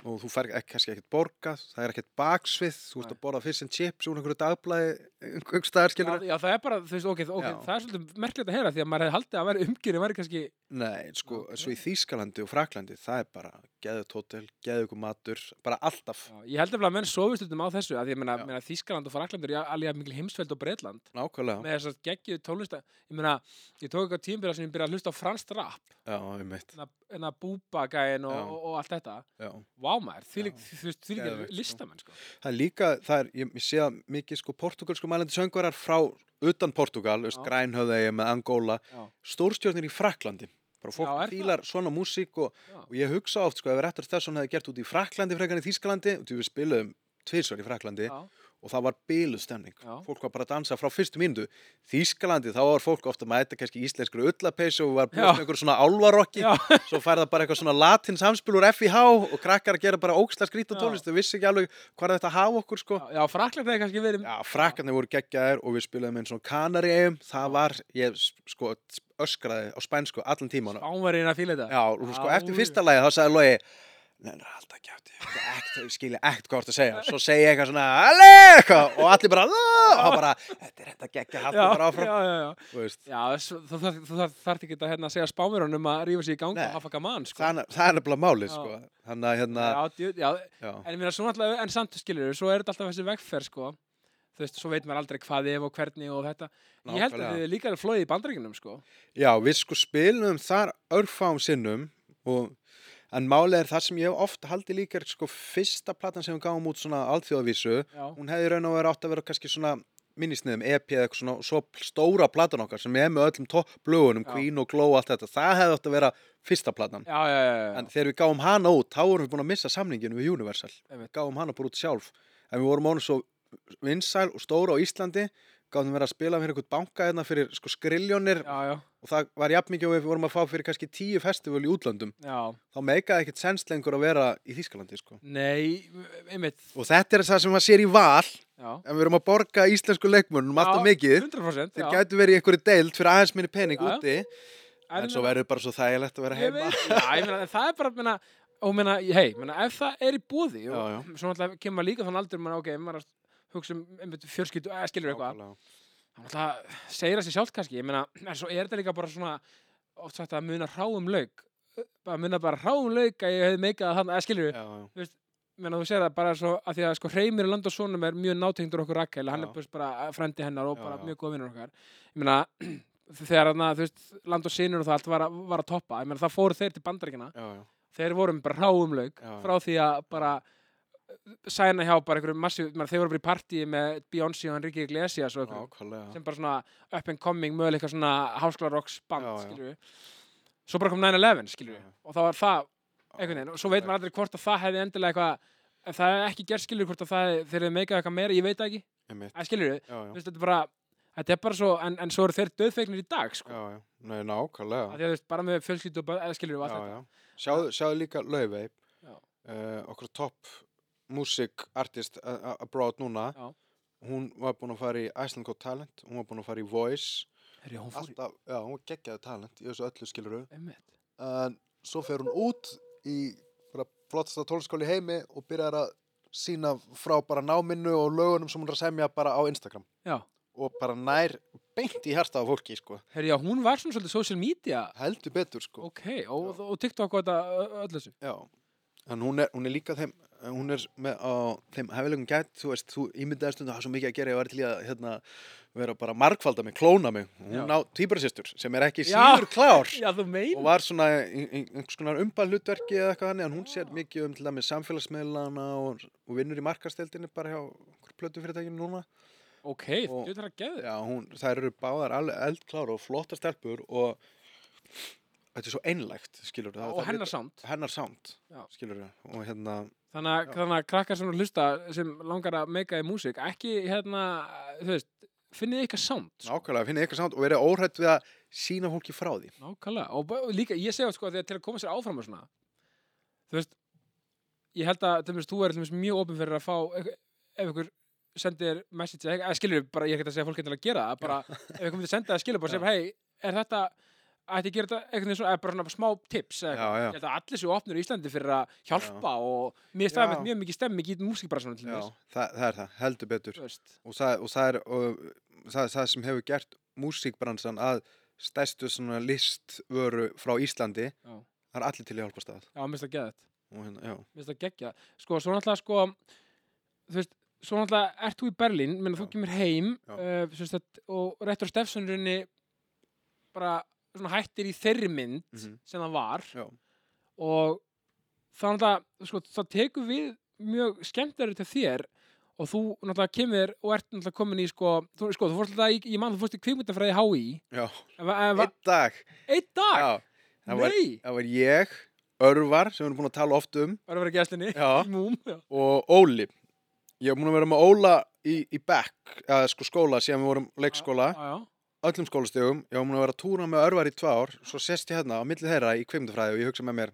Speaker 2: og þú fer ekki, kannski ekkert borga það er ekkert baksvið, þú ert
Speaker 1: Nei.
Speaker 2: að borða fish and chips úr einhverju dagblæði einhverjum staðar
Speaker 1: Já,
Speaker 2: skilur
Speaker 1: já, það er bara, þú veist, ok, ok,
Speaker 2: Já.
Speaker 1: það er svolítið merkilegt að heyra því að maður hefði haldið að vera umgjörið væri kannski,
Speaker 2: Nei, sko,
Speaker 1: Ok.
Speaker 2: svo í Þýskalandi og Fraklandi það er bara geðut hótel, geðugu matur bara alltaf,
Speaker 1: já, ég held eftir að menn sofist um á þessu, að ég meina,
Speaker 2: Já.
Speaker 1: meina Þískaland og Fraklandur, alveg mikil heimsveld og Breitland,
Speaker 2: nákvæmlega
Speaker 1: með þess að geggju tónlista, ég meina, ég tók eitthvað tímbyrða sem ég byrjaði að hlusta á franskt rap,
Speaker 2: Já, um mitt,
Speaker 1: en að, en að búba gæin og,
Speaker 2: Já.
Speaker 1: og, og allt þetta,
Speaker 2: já
Speaker 1: vá maður, því lík,
Speaker 2: Já.
Speaker 1: þú veist, því lík
Speaker 2: Geðveikt, sko.
Speaker 1: listamenn, sko,
Speaker 2: Það er líka, það er, ég, ég sé að mikið sko portugalsku mælandi söngvarar frá utan Portugal, þú veist,
Speaker 1: Já.
Speaker 2: grænhöðegi með Angola,
Speaker 1: Já.
Speaker 2: stórstjórnir í Fraklandi bara fólk
Speaker 1: Já, er það?
Speaker 2: fílar svona músík og,
Speaker 1: Já.
Speaker 2: og ég hugsa oft sko, ef Rettur Stefson hefði gert út í Fraklandi frekar en í Þýskalandi, og því við spilaðum tvisvar í Fraklandi
Speaker 1: já,
Speaker 2: og það var bílustemning
Speaker 1: Já.
Speaker 2: fólk var bara að dansa frá fyrstu mínútu Þýskalandi, þá var fólk ofta að mæta kannski íslenskur ullapeysu og var búið
Speaker 1: Já.
Speaker 2: með einhver svona álvarokki,
Speaker 1: já,
Speaker 2: svo fær það bara eitthvað svona latin samspil úr FIH og krakkar að gera bara óksla skrýta
Speaker 1: Já.
Speaker 2: tónlist, þau vissi ekki alveg hvað þetta hafa okkur sko
Speaker 1: já, já, Frakland hefði kannski verið,
Speaker 2: Já, frakkarnir voru geggjaðir og við spilaðum einn svona kanaríum, það var, ég sko öskraði á spænsku allan tíman
Speaker 1: ánverðin að fíla þetta,
Speaker 2: Já, og sko
Speaker 1: Já,
Speaker 2: eftir
Speaker 1: úr.
Speaker 2: fyrsta lagi þá sagði Logi Nennar alltaf kjátti, ég skilja ekkert hvað þú ert að segja Svo segi ég eitthvað svona, alli, eitthvað og allir bara, "Ah!" og þá bara, þetta er þetta geggja, haldur bara
Speaker 1: já,
Speaker 2: áfram
Speaker 1: já, já, já.
Speaker 2: Þú veist,
Speaker 1: Já, svo- þú þarf- þú þarf- þarft ekki að hérna, segja spámurunum að rífa sér í gang
Speaker 2: Nei.
Speaker 1: og hafa gaman, sko.
Speaker 2: það, það er nefnilega málið,
Speaker 1: Já.
Speaker 2: sko Þannig að hérna,
Speaker 1: Já, djú, já,
Speaker 2: já,
Speaker 1: en, minna, svona alltaf, en samt skilur svo er þetta alltaf þessi vegferð, sko. Þú veist, svo veit maður aldrei hvað ef og hvernig og þetta. Ég held að
Speaker 2: nákvæmlega.
Speaker 1: þið líka er flóið í bandaríkinum, sko.
Speaker 2: Já, við sko spilum þar örfáum sinnum og En málið er það sem ég hef oft haldið líka er sko fyrsta platan sem við gáum út svona alþjóðavísu
Speaker 1: Já,
Speaker 2: hún hefði í raun og verið átt að vera kannski svona minnisniðum, EP eða eitthvað svona og svo stóra platan okkar sem er með öllum toppblögunum,
Speaker 1: Já.
Speaker 2: Queen og Glow og allt þetta það hefði átt að vera fyrsta platan
Speaker 1: já, já, já, já.
Speaker 2: en þegar við gáum hana út, þá vorum við búin að missa samninginu við Universal,
Speaker 1: Einmitt.
Speaker 2: gáum hana bara út sjálf en við vorum ánum svo vinsæl og stóra á Íslandi, gáðum verið að spila fyrir einhvern banka hérna fyrir sko skriljónir
Speaker 1: já, já,
Speaker 2: og það var jafn mikið og við vorum að fá fyrir kannski tíu festival í útlöndum
Speaker 1: já.
Speaker 2: þá meikaði ekkert sens lengur að vera í Þýskalandi sko.
Speaker 1: Nei, einmitt,
Speaker 2: og þetta er það sem maður sér í val
Speaker 1: já.
Speaker 2: en við erum að borga íslensku leikmönnum alltaf
Speaker 1: Já,
Speaker 2: mikið
Speaker 1: 100%,
Speaker 2: þeir
Speaker 1: já.
Speaker 2: gætu verið í einhverju deild fyrir aðeins minni pening
Speaker 1: Já, já.
Speaker 2: úti en svo verður bara svo þægilegt að vera
Speaker 1: Ég
Speaker 2: heima
Speaker 1: veit, já, ég meina, það er bara, meina, og meina, hei, meina, ef það er í búði og
Speaker 2: Já,
Speaker 1: svo náttúrulega kemur maður líka þann aldur, meina, ok, ef maður er að hugsa um, einmitt, fjörskiptu, eða skilur eitthvað,
Speaker 2: Nákvæmlega.
Speaker 1: hann alltaf segir það sér sjálft kannski ég meina, en svo er þetta líka bara svona oft sagt að muna ráum lauk bara muna bara ráum lauk að ég hefði meikað að hann, eða skilur við,
Speaker 2: Já, já.
Speaker 1: menn að þú segir það bara svo að því að sko Hreymir Landosónum er mjög nátengdur okkur Rakel, hann
Speaker 2: Já.
Speaker 1: er bara bara frendi hennar og
Speaker 2: Já,
Speaker 1: bara
Speaker 2: já.
Speaker 1: mjög góð vinnur okkar ég meina, (clears throat) þegar hann þú veist, Landosínur og það allt var að, var að toppa ég meina, það fóru þeir til bandaríkina
Speaker 2: Já, já.
Speaker 1: þeir voru með bara ráum lauk
Speaker 2: Já, já.
Speaker 1: frá því að bara sæna hjá bara einhverjum massíu, ég meina, þeir voru bara í partíi með Beyoncé og Enrique Iglesias og einhverjum
Speaker 2: Nákvæmlega.
Speaker 1: sem bara svona up and coming möguleika svona háskóla rocks band,
Speaker 2: Já, já.
Speaker 1: skilur við svo bara kom 9-11, skilur við
Speaker 2: Já.
Speaker 1: og þá var það, einhvern veginn, og svo veit maður aldrei hvort að það hefði endilega eitthvað en það hefði ekki gerð skilur við, hvort að það hefði, þeir hefði meikað eitthvað meira, ég veit það ekki,
Speaker 2: Einmitt.
Speaker 1: að skilur við
Speaker 2: Já, já.
Speaker 1: Þú veist, þetta er bara, þetta er bara svo en, en svo eru þeir döðfegnir í dag, sko
Speaker 2: Já, já. Nei,
Speaker 1: að
Speaker 2: nákvæmlega.
Speaker 1: því að þú veist, bara með fjölskyldu og bara, eða skilur við og
Speaker 2: Já,
Speaker 1: allt
Speaker 2: já. Sjáðu, sjáðu líka Laufey,
Speaker 1: Já.
Speaker 2: uh, okkur topp music artist a- a- abroad núna.
Speaker 1: Já.
Speaker 2: Hún var búin að fara í Iceland Got Talent, hún var búin að fara í Voice,
Speaker 1: þetta Herri, hún fór í,
Speaker 2: alltaf, já, hún geggjaði talent, í þessu öllu skiluru.
Speaker 1: einmitt
Speaker 2: en svo fer hún út í bara flottasta tónskóli heimi og byrjar að sína frá bara náminu og lögunum sem hún er að semja bara á Instagram
Speaker 1: Já,
Speaker 2: og bara nær beint í hjarta á fólki sko.
Speaker 1: herri, já, hún var svona svolítið social media
Speaker 2: heldur betur sko.
Speaker 1: Ok, og, og TikTok og þetta ö- öll þessu
Speaker 2: Já, en hún er, hún er líka þeim, hún er með á þeim hefilegum gætt, þú veist, þú ímyndaði stundu, það er svo mikið að gera, ég var til í að hérna, vera bara margfalda mig, klóna mig, hún
Speaker 1: Já.
Speaker 2: á týbrarsýstur sem er ekki
Speaker 1: Já.
Speaker 2: síður
Speaker 1: (laughs)
Speaker 2: klár
Speaker 1: Já, þú
Speaker 2: og
Speaker 1: meina
Speaker 2: var svona í- í- einhvers konar umballutverki eða eitthvað hannig, en hún sér mikið um til dæmis samfélagsmiðlana og, og vinnur í markasteldinni bara hjá plötu fyrirtækinu núna.
Speaker 1: Ok, þú
Speaker 2: Og-
Speaker 1: veit hann að geða
Speaker 2: Já, hún, þær eru báðar alveg eldklára og flotta stelpur og þetta er svo einlægt, skilur
Speaker 1: Og hennar samt
Speaker 2: hennar sound
Speaker 1: Já.
Speaker 2: skilur við og hérna
Speaker 1: þannig, að-
Speaker 2: Já.
Speaker 1: þannig að krakkar sem eru að hlusta sem langar að meika í músík ekki hérna, þú veist finnið ykkar samt sko.
Speaker 2: nákvæmlega finnið ykkur sound og verið óhrætt við að sína fólki frá því
Speaker 1: Nákvæmlega og bara- og líka, ég segja sko að því að til að koma sér áfram og svona þú veist ég held að til dæmis, þú er til dæmis, mjög opin fyrir að fá ef ef ykkur sendir message eða eitthvað- eða skilur bara ég er ekki að segja fólk eitthvað að gera það bara ef ykkur myndi senda það skilur bara sem hei er þetta ætti að gera þetta einhvern veginn svona eða bara svona smá tips eða eitthvað.
Speaker 2: Já, já.
Speaker 1: ég held að allir séu opnir í Íslandi fyrir að hjálpa og mér
Speaker 2: Já.
Speaker 1: stafið mjög mikið stemming í músík bara svona til
Speaker 2: Já,
Speaker 1: þess
Speaker 2: það, það er það, heldur betur
Speaker 1: þú veist
Speaker 2: og það, og það er og, það, það sem hefur gert músíkbransan að stærstu svona listvöru frá Íslandi
Speaker 1: Já.
Speaker 2: það er allir til í hjálpa stað
Speaker 1: Já, mér finnst það geðið.
Speaker 2: og hérna, já,
Speaker 1: Mér finnst það geggja. Sko, svo náttúrulega, sko, þú veist, svo náttúrulega ert þú í Berlín, menn þú
Speaker 2: Já.
Speaker 1: kemur heim
Speaker 2: Já.
Speaker 1: uh, sérst, að, og réttur stefsunurinni bara svona hættir í þeirri mynd
Speaker 2: Mhm.
Speaker 1: sem það var
Speaker 2: já,
Speaker 1: og það náttúrulega, sko, það tekur við mjög skemmtari til þér og þú náttúrulega kemur og ert náttúrulega komin í, sko, þú, sko, þú fórst alltaf í, ég man, þú fórst í kvikmyndafræði HÍ
Speaker 2: já.
Speaker 1: en, va- en,
Speaker 2: einn dag
Speaker 1: Eitt dag?
Speaker 2: já, það, var,
Speaker 1: Nei!
Speaker 2: það var ég, Örvar sem við erum búin að tala oft um
Speaker 1: Var að vera í gæslinni?
Speaker 2: Já.
Speaker 1: Í Múm, já.
Speaker 2: og Óli ég er búin að vera með Óla í, í back, eða sko skóla síðan við vorum leikskóla
Speaker 1: Já, já.
Speaker 2: öllum skólastegum, ég var múin að vera að túra með örvar í tvö ár, svo sest ég hérna á milli þeirra í kveimdufræði og ég hugsa með mér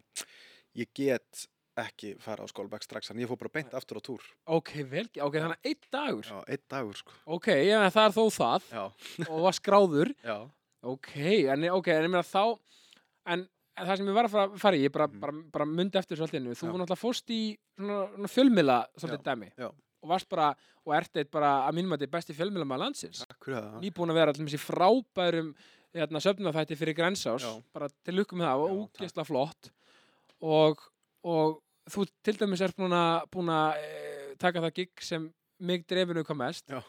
Speaker 2: ég get ekki fara á skólabæk strax þannig ég fór bara beint aftur á túr
Speaker 1: Ok, vel, ok, þannig að einn dagur
Speaker 2: Já, einn dagur sko
Speaker 1: Ok, ég meina það er þó það
Speaker 2: Já,
Speaker 1: og var skráður
Speaker 2: já,
Speaker 1: Ok, en, ok, en ég meina þá en, en það sem ég var að fara, fara í ég bara,
Speaker 2: Mhm.
Speaker 1: bara, bara myndi eftir þessu allinu þú
Speaker 2: Já.
Speaker 1: náttúrulega fórst í svona, svona fjölmiðla svolítið dæmi
Speaker 2: já.
Speaker 1: og varst bara, og ert eitt bara að mínum að þetta er besti fjölmiðla maður landsins
Speaker 2: takk fyrir það
Speaker 1: nýbúin að vera allir með sér frábærum hérna, söfnafætti fyrir Grensás
Speaker 2: Já.
Speaker 1: bara til lukkum það og
Speaker 2: Já, takk.
Speaker 1: útgeisla flott og, og þú til dæmis ert búin að, búin að e, taka það gig sem mig drefinu kom mest
Speaker 2: Já.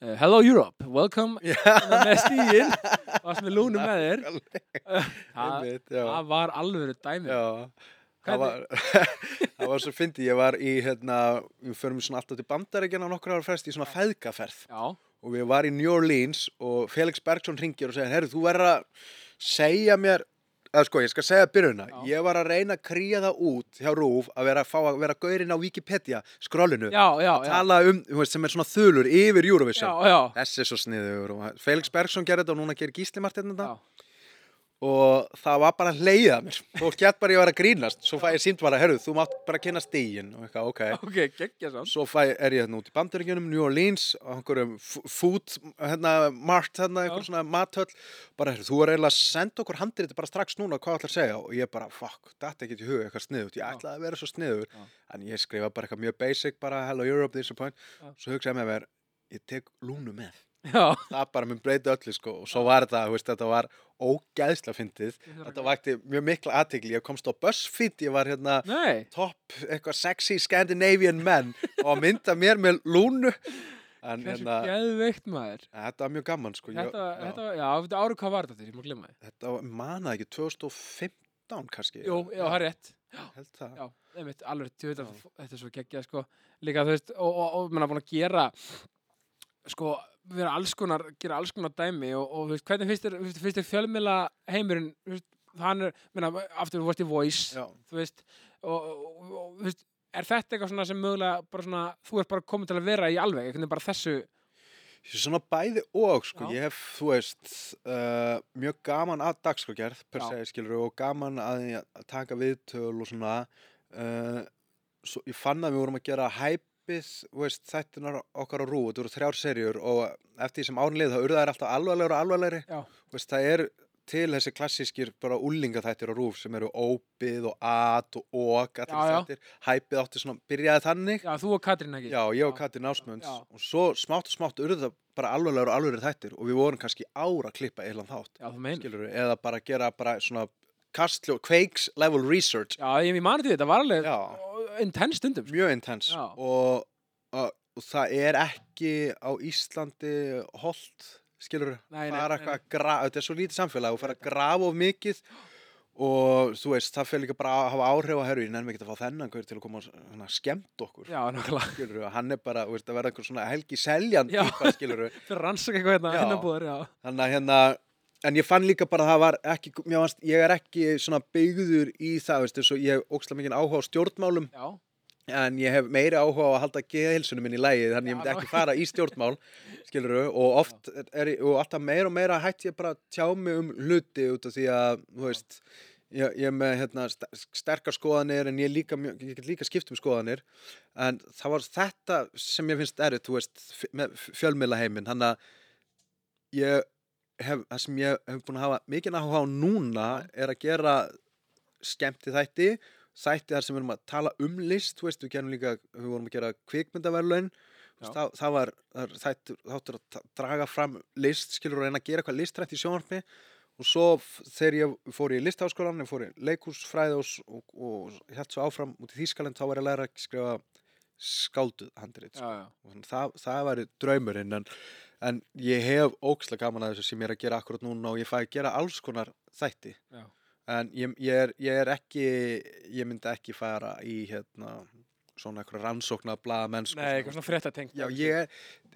Speaker 1: Eh, Hello Europe, welcome Hérna
Speaker 2: Já,
Speaker 1: með stíin varst með lúnu með þér það,
Speaker 2: einmitt, já,
Speaker 1: það var alvöru dæmi
Speaker 2: já Það var, (laughs) það var svo fyndi, ég var í hérna, við förum svona alltaf til bandaríkjana á nokkra ára frest í svona feðgaferð
Speaker 1: Já,
Speaker 2: og við var í New Orleans og Felix Bergson ringir og segir, herru, þú verður að segja mér, eða sko, ég skal segja byrjunna,
Speaker 1: Já.
Speaker 2: ég var að reyna að krýja það út hjá Rúf að vera að fá að vera gaurinn á Wikipedia, skrólinu,
Speaker 1: já, já, já,
Speaker 2: tala um, þú veist, sem er svona þulur yfir
Speaker 1: já,
Speaker 2: Eurovision.
Speaker 1: já.
Speaker 2: Þessi er svo sniður og Felix Bergson gerði þetta og núna gerir Gísli Martin þetta
Speaker 1: Já.
Speaker 2: og það var bara að leiða mér og gett bara ég var að grínast, svo fæ ég símt bara, herru, þú mátt bara kynna stígin og eitthvað, ok.
Speaker 1: ok, geggja sann
Speaker 2: Svo fæ, er ég hérna út í bandaríkjunum, New Orleans, á einhverjum f- food, hérna, mart, hérna, einhver svona matöll, bara, heyrðu, þú er eiginlega að senda okkur handrið bara strax núna, hvað ætlar að segja? Og ég bara, fuck, þetta ekki til huga eitthvað sniðut, ég
Speaker 1: Já.
Speaker 2: ætlaði að vera svo sniður,
Speaker 1: Já.
Speaker 2: en ég skrifa bara eitthvað mjög basic, bara, hello Europe, this is a point,
Speaker 1: Já.
Speaker 2: svo hugsaði ég með mér, ég tek lúnu
Speaker 1: (laughs)
Speaker 2: með.
Speaker 1: Já,
Speaker 2: Það bara mun breyta öllu, sko, og svo var það, þú veist, þetta var ógæðsla fyndið, þetta vakti mjög mikla aðtegli, ég komst á BuzzFeed, ég var hérna,
Speaker 1: Nei,
Speaker 2: topp, eitthvað sexy Scandinavian men og að mynda mér með lúnu en
Speaker 1: hversu
Speaker 2: hérna,
Speaker 1: geðveikt maður
Speaker 2: þetta var mjög gaman sko, ég,
Speaker 1: Þetta,
Speaker 2: já,
Speaker 1: þetta, var- já, þetta árið hvað var þetta þér, ég má glemma þið.
Speaker 2: þetta var, manað ekki 2015 kannski
Speaker 1: Jú, já, það er rétt.
Speaker 2: held það
Speaker 1: Já, einmitt, alveg, þú veit að þetta er svo geggjað, sko. Líka, þú veist, og, og, og mann er búin að gera, sko, vera alls konar, gera alls konar dæmi og, og þú veist, hvernig finnst þér, þú veist, finnst þér fjölmila heimurinn, þú veist, hann er, minna, aftur þú vorst í Voice,
Speaker 2: já,
Speaker 1: þú veist, og, og, og, og, þú veist, er þetta eitthvað svona sem mögulega, bara svona, þú ert bara komin til að vera í alveg, einhvern veginn bara þessu,
Speaker 2: Ég er svona bæði og sko,
Speaker 1: Já.
Speaker 2: ég hef, þú veist uh, mjög gaman að dagskogerð per
Speaker 1: Já.
Speaker 2: se, skilur, og gaman að, því að taka viðtöl og svona uh, svo, ég fann að við vorum að gera hæpið, þú veist, þættunar okkar á rú, þetta voru þrjár serjur og eftir því sem árin lið, það urðaðir alltaf alvarlegur og alvarlegri
Speaker 1: Já.
Speaker 2: Þú veist, það er til þessi klassískir bara úlingaþættir á rúf sem eru óbið og at og ok allir
Speaker 1: Já,
Speaker 2: já,
Speaker 1: já.
Speaker 2: þættir, hæpið átti svona, byrjaði þannig
Speaker 1: Já, þú og Katrín ekki
Speaker 2: Já, ég og
Speaker 1: Já.
Speaker 2: Katrin Ásmunds
Speaker 1: Já.
Speaker 2: og svo smátt og smátt urðu það bara alveglegur og alveglegur þættir og við vorum kannski ára að klippa eilan þátt,
Speaker 1: Já, þú meinir
Speaker 2: skilur eða bara gera bara svona kastljó, quakes level research,
Speaker 1: Já, ég, ég mani til þetta var alveg
Speaker 2: Já.
Speaker 1: intense stundum sko.
Speaker 2: mjög intense
Speaker 1: Já.
Speaker 2: og, og, og það er ekki á Íslandi holt, skilur
Speaker 1: Nei, nei,
Speaker 2: fara
Speaker 1: nei,
Speaker 2: eitthvað að grafa, þetta er svo lítið samfélag og fara að grafa of mikið og þú veist, það fyrir líka bara að hafa áhrif á herru, ég nefnum ekki að fá þennan gaur til að koma og hana, skemmt okkur
Speaker 1: Já, nákvæmlega
Speaker 2: skilur, hann er bara, þú veist, að verða einhver svona helgi seljan
Speaker 1: Já.
Speaker 2: típa,
Speaker 1: (laughs)
Speaker 2: skilur
Speaker 1: Fyrir að rannsaka eitthvað hérna
Speaker 2: Já.
Speaker 1: innanbúðar, já
Speaker 2: þannig að hérna en ég fann líka bara að það var ekki mér varst, ég er ekki svona byggður í það veist, eins og ég hef ókslega mikið áhuga á stjórnmálum
Speaker 1: Já,
Speaker 2: en ég hef meiri áhuga á að halda geðhilsunum minn í lægi þannig ég myndi
Speaker 1: Já,
Speaker 2: ekki fara í stjórnmál skilur og oft er, ég- og alltaf meira og meira hætt ég bara að tjá mig um hluti út af því að þú veist Ég, ég er með hérna, st- sterkar skoðanir en ég, er líka, mjög- ég get líka skipt um skoðanir en það var þetta sem ég finnst erut, þú veist, f- með fjölmiðla heiminn, þannig að ég hef, það sem ég hef búin að hafa mikið áhuga á núna er að gera skemmti þætti þætti þar sem við erum að tala um list þú veist, við gerum líka, við vorum að gera kvikmyndaverlaun þú veist,
Speaker 1: Já.
Speaker 2: það, það var það er þættur, þáttur að ta- draga fram list skilur að reyna að gera eitthvað listrætt í sjónvarpi og svo f- þegar ég fór í listháskólan, ég fór í leikhúsfræði og, s- og, og hélt svo áfram út í Þýskaland þá var ég að læra að skrifa skálduð handrit
Speaker 1: já, já
Speaker 2: og þannig, það, það væri draumurinn en, en ég hef ókslega gaman að þessu sem ég er að gera akkurat núna og ég fæ að gera alls konar þætti
Speaker 1: Já.
Speaker 2: en ég, ég, er, ég er ekki ég myndi ekki fara í hérna, svona eitthvað rannsóknar blaða mennsku
Speaker 1: Nei, eitthvað svona frétta tengt
Speaker 2: Já, ég er,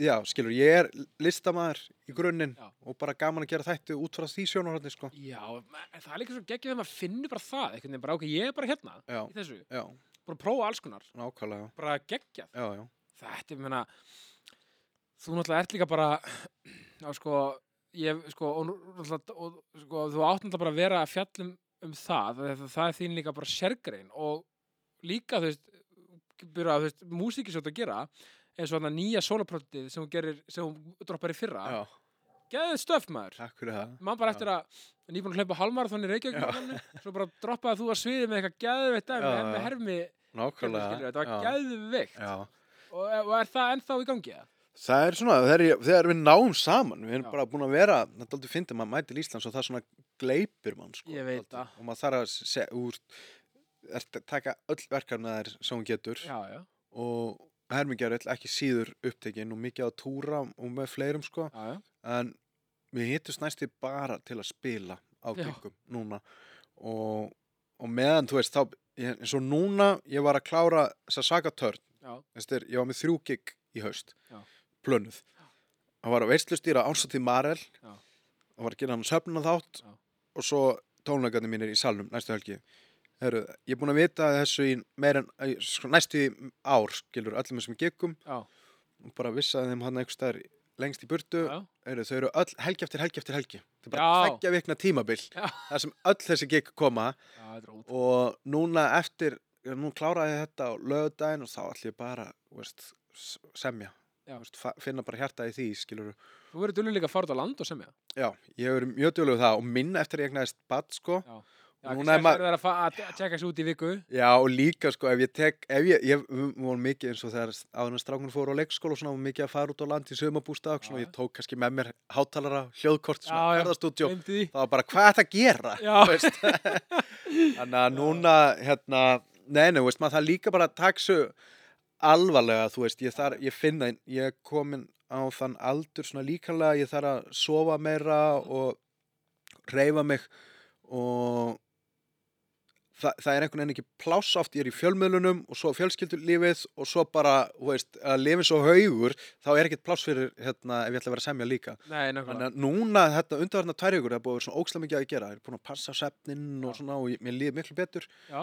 Speaker 2: já, skilur, ég er listamaður í grunninn
Speaker 1: Já.
Speaker 2: og bara gaman að gera þætti út frá því sjónarhóðni, sko.
Speaker 1: Já, en það er líka svo geggjum þegar maður finnur bara það einhvern veginn bara, ok, ég er bara hérna
Speaker 2: Já,
Speaker 1: í þessu,
Speaker 2: já,
Speaker 1: bara að prófa alls konar
Speaker 2: nákvæmlega,
Speaker 1: bara geggjað
Speaker 2: já, já.
Speaker 1: þetta, ég meina þú náttúrulega ert líka bara á sko, ég, sko, og, nú- náttúrulega- og sko, þú átt náttúrulega bara að vera að fjallum um það, það, það er þín líka bara sérgrein og líka, þú veist byrja, þú veist, músíkið svolítið að gera eins og þarna nýja soloprotið sem hún gerir, sem hún droppar í fyrra,
Speaker 2: Já,
Speaker 1: geðið stöf maður
Speaker 2: takk fyrir það.
Speaker 1: mann bara
Speaker 2: Já.
Speaker 1: eftir að en ég búin að hlaupa hálmarathon í Reykjavík
Speaker 2: Já.
Speaker 1: marathonu, svo bara droppaði þú að sviði með eitthvað geðveitt dæmi,
Speaker 2: Já, já.
Speaker 1: með hermi
Speaker 2: Nákvæmlega.
Speaker 1: skilur, þetta var
Speaker 2: já,
Speaker 1: geðveikt
Speaker 2: Já.
Speaker 1: og, og er það ennþá í gangi eða?
Speaker 2: Það er svona, þegar, ég, þegar við náum saman, við erum
Speaker 1: Já.
Speaker 2: bara búin að vera, þetta er aldrei fyndið, maður mætir í Íslands og það svona gleipir mann, sko.
Speaker 1: Ég veit
Speaker 2: dálítið.
Speaker 1: það.
Speaker 2: Og maður þarf að se, úr, er, taka öll verkefna þær sem hún getur
Speaker 1: já, já,
Speaker 2: og hermingjar öll ekki síður upptekinn og mikið á túra og með fleirum, sko.
Speaker 1: já, já.
Speaker 2: En við hittust næstu bara til að spila á
Speaker 1: Já.
Speaker 2: gengum núna og, og meðan, þú veist, þá, ég- eins og núna, ég var að klára þess að saga törn
Speaker 1: Já.
Speaker 2: Þessir, ég var með þrjú gig í haust
Speaker 1: Já.
Speaker 2: plönuð það var að veistlustýra ásatíð Marel
Speaker 1: Já.
Speaker 2: það var að gera hann söfnuna þátt
Speaker 1: Já.
Speaker 2: og svo tónleikarnir mínir í salnum næstu helgi Heru, ég er búin að vita þessu í meir en í sko- næstu í ár skilur öllum þessum gigum
Speaker 1: Já.
Speaker 2: og bara vissaði þeim hann einhver staðar í- lengst í burtu
Speaker 1: Já.
Speaker 2: Heru, þau eru öll helgi eftir helgi eftir helgi það er bara
Speaker 1: Já.
Speaker 2: tveggja vikna tímabil
Speaker 1: Já.
Speaker 2: þar sem öll þessi gig koma
Speaker 1: Já, þetta er ótrúlega.
Speaker 2: og núna eftir nú kláraði ég þetta á lögudaginn og þá ætlum ég bara þú veist, s- semja
Speaker 1: Já.
Speaker 2: Þú veist, fa- finna bara hjarta í því skilur
Speaker 1: Þú verður dullu líka að fara út á land og semja.
Speaker 2: já, ég hefur verið mjög djúlega það og minn eftir ég egnaðist bad sko
Speaker 1: Já. Já,
Speaker 2: Núna
Speaker 1: Núna
Speaker 2: er
Speaker 1: er
Speaker 2: maður-
Speaker 1: maður... að, fa- að tjekka sér út í viku.
Speaker 2: já og líka sko ef ég tek ef ég, ég var mikið eins og þegar áður en strákun fóru á leikskóla og svona var mikið að fara út á land í sömabústað og svona,
Speaker 1: Já.
Speaker 2: ég tók kannski með mér hátalara, hljóðkort, svona
Speaker 1: Já, já.
Speaker 2: ferðastúdjó
Speaker 1: Gleymdi því.
Speaker 2: það var bara hvað er þetta að gera
Speaker 1: Já.
Speaker 2: Þú veist? þannig að núna hérna, neina, þú veist maður það líka bara taksu alvarlega þú veist, ég, þar, ég finna ég er komin á þann aldur svona líkalega, ég þarf að sofa meira og reyfa mig og Þa, það er einhvern veginn ekki pláss oft, ég er í fjölmiðlunum og svo fjölskyldulífið og svo bara, þú veist, að lifi svo haugur þá er ekkert pláss fyrir, hérna, ef ég ætla að vera að semja líka
Speaker 1: (laughs) Nei, nákvæmlega.
Speaker 2: Þannig að núna, þetta undarverna tvær ykkur, það er búið að vera svona ókslega mikið að gera. Ég er búin að passa svefnin og
Speaker 1: Já.
Speaker 2: svona og ég, mér líður miklu betur
Speaker 1: Já.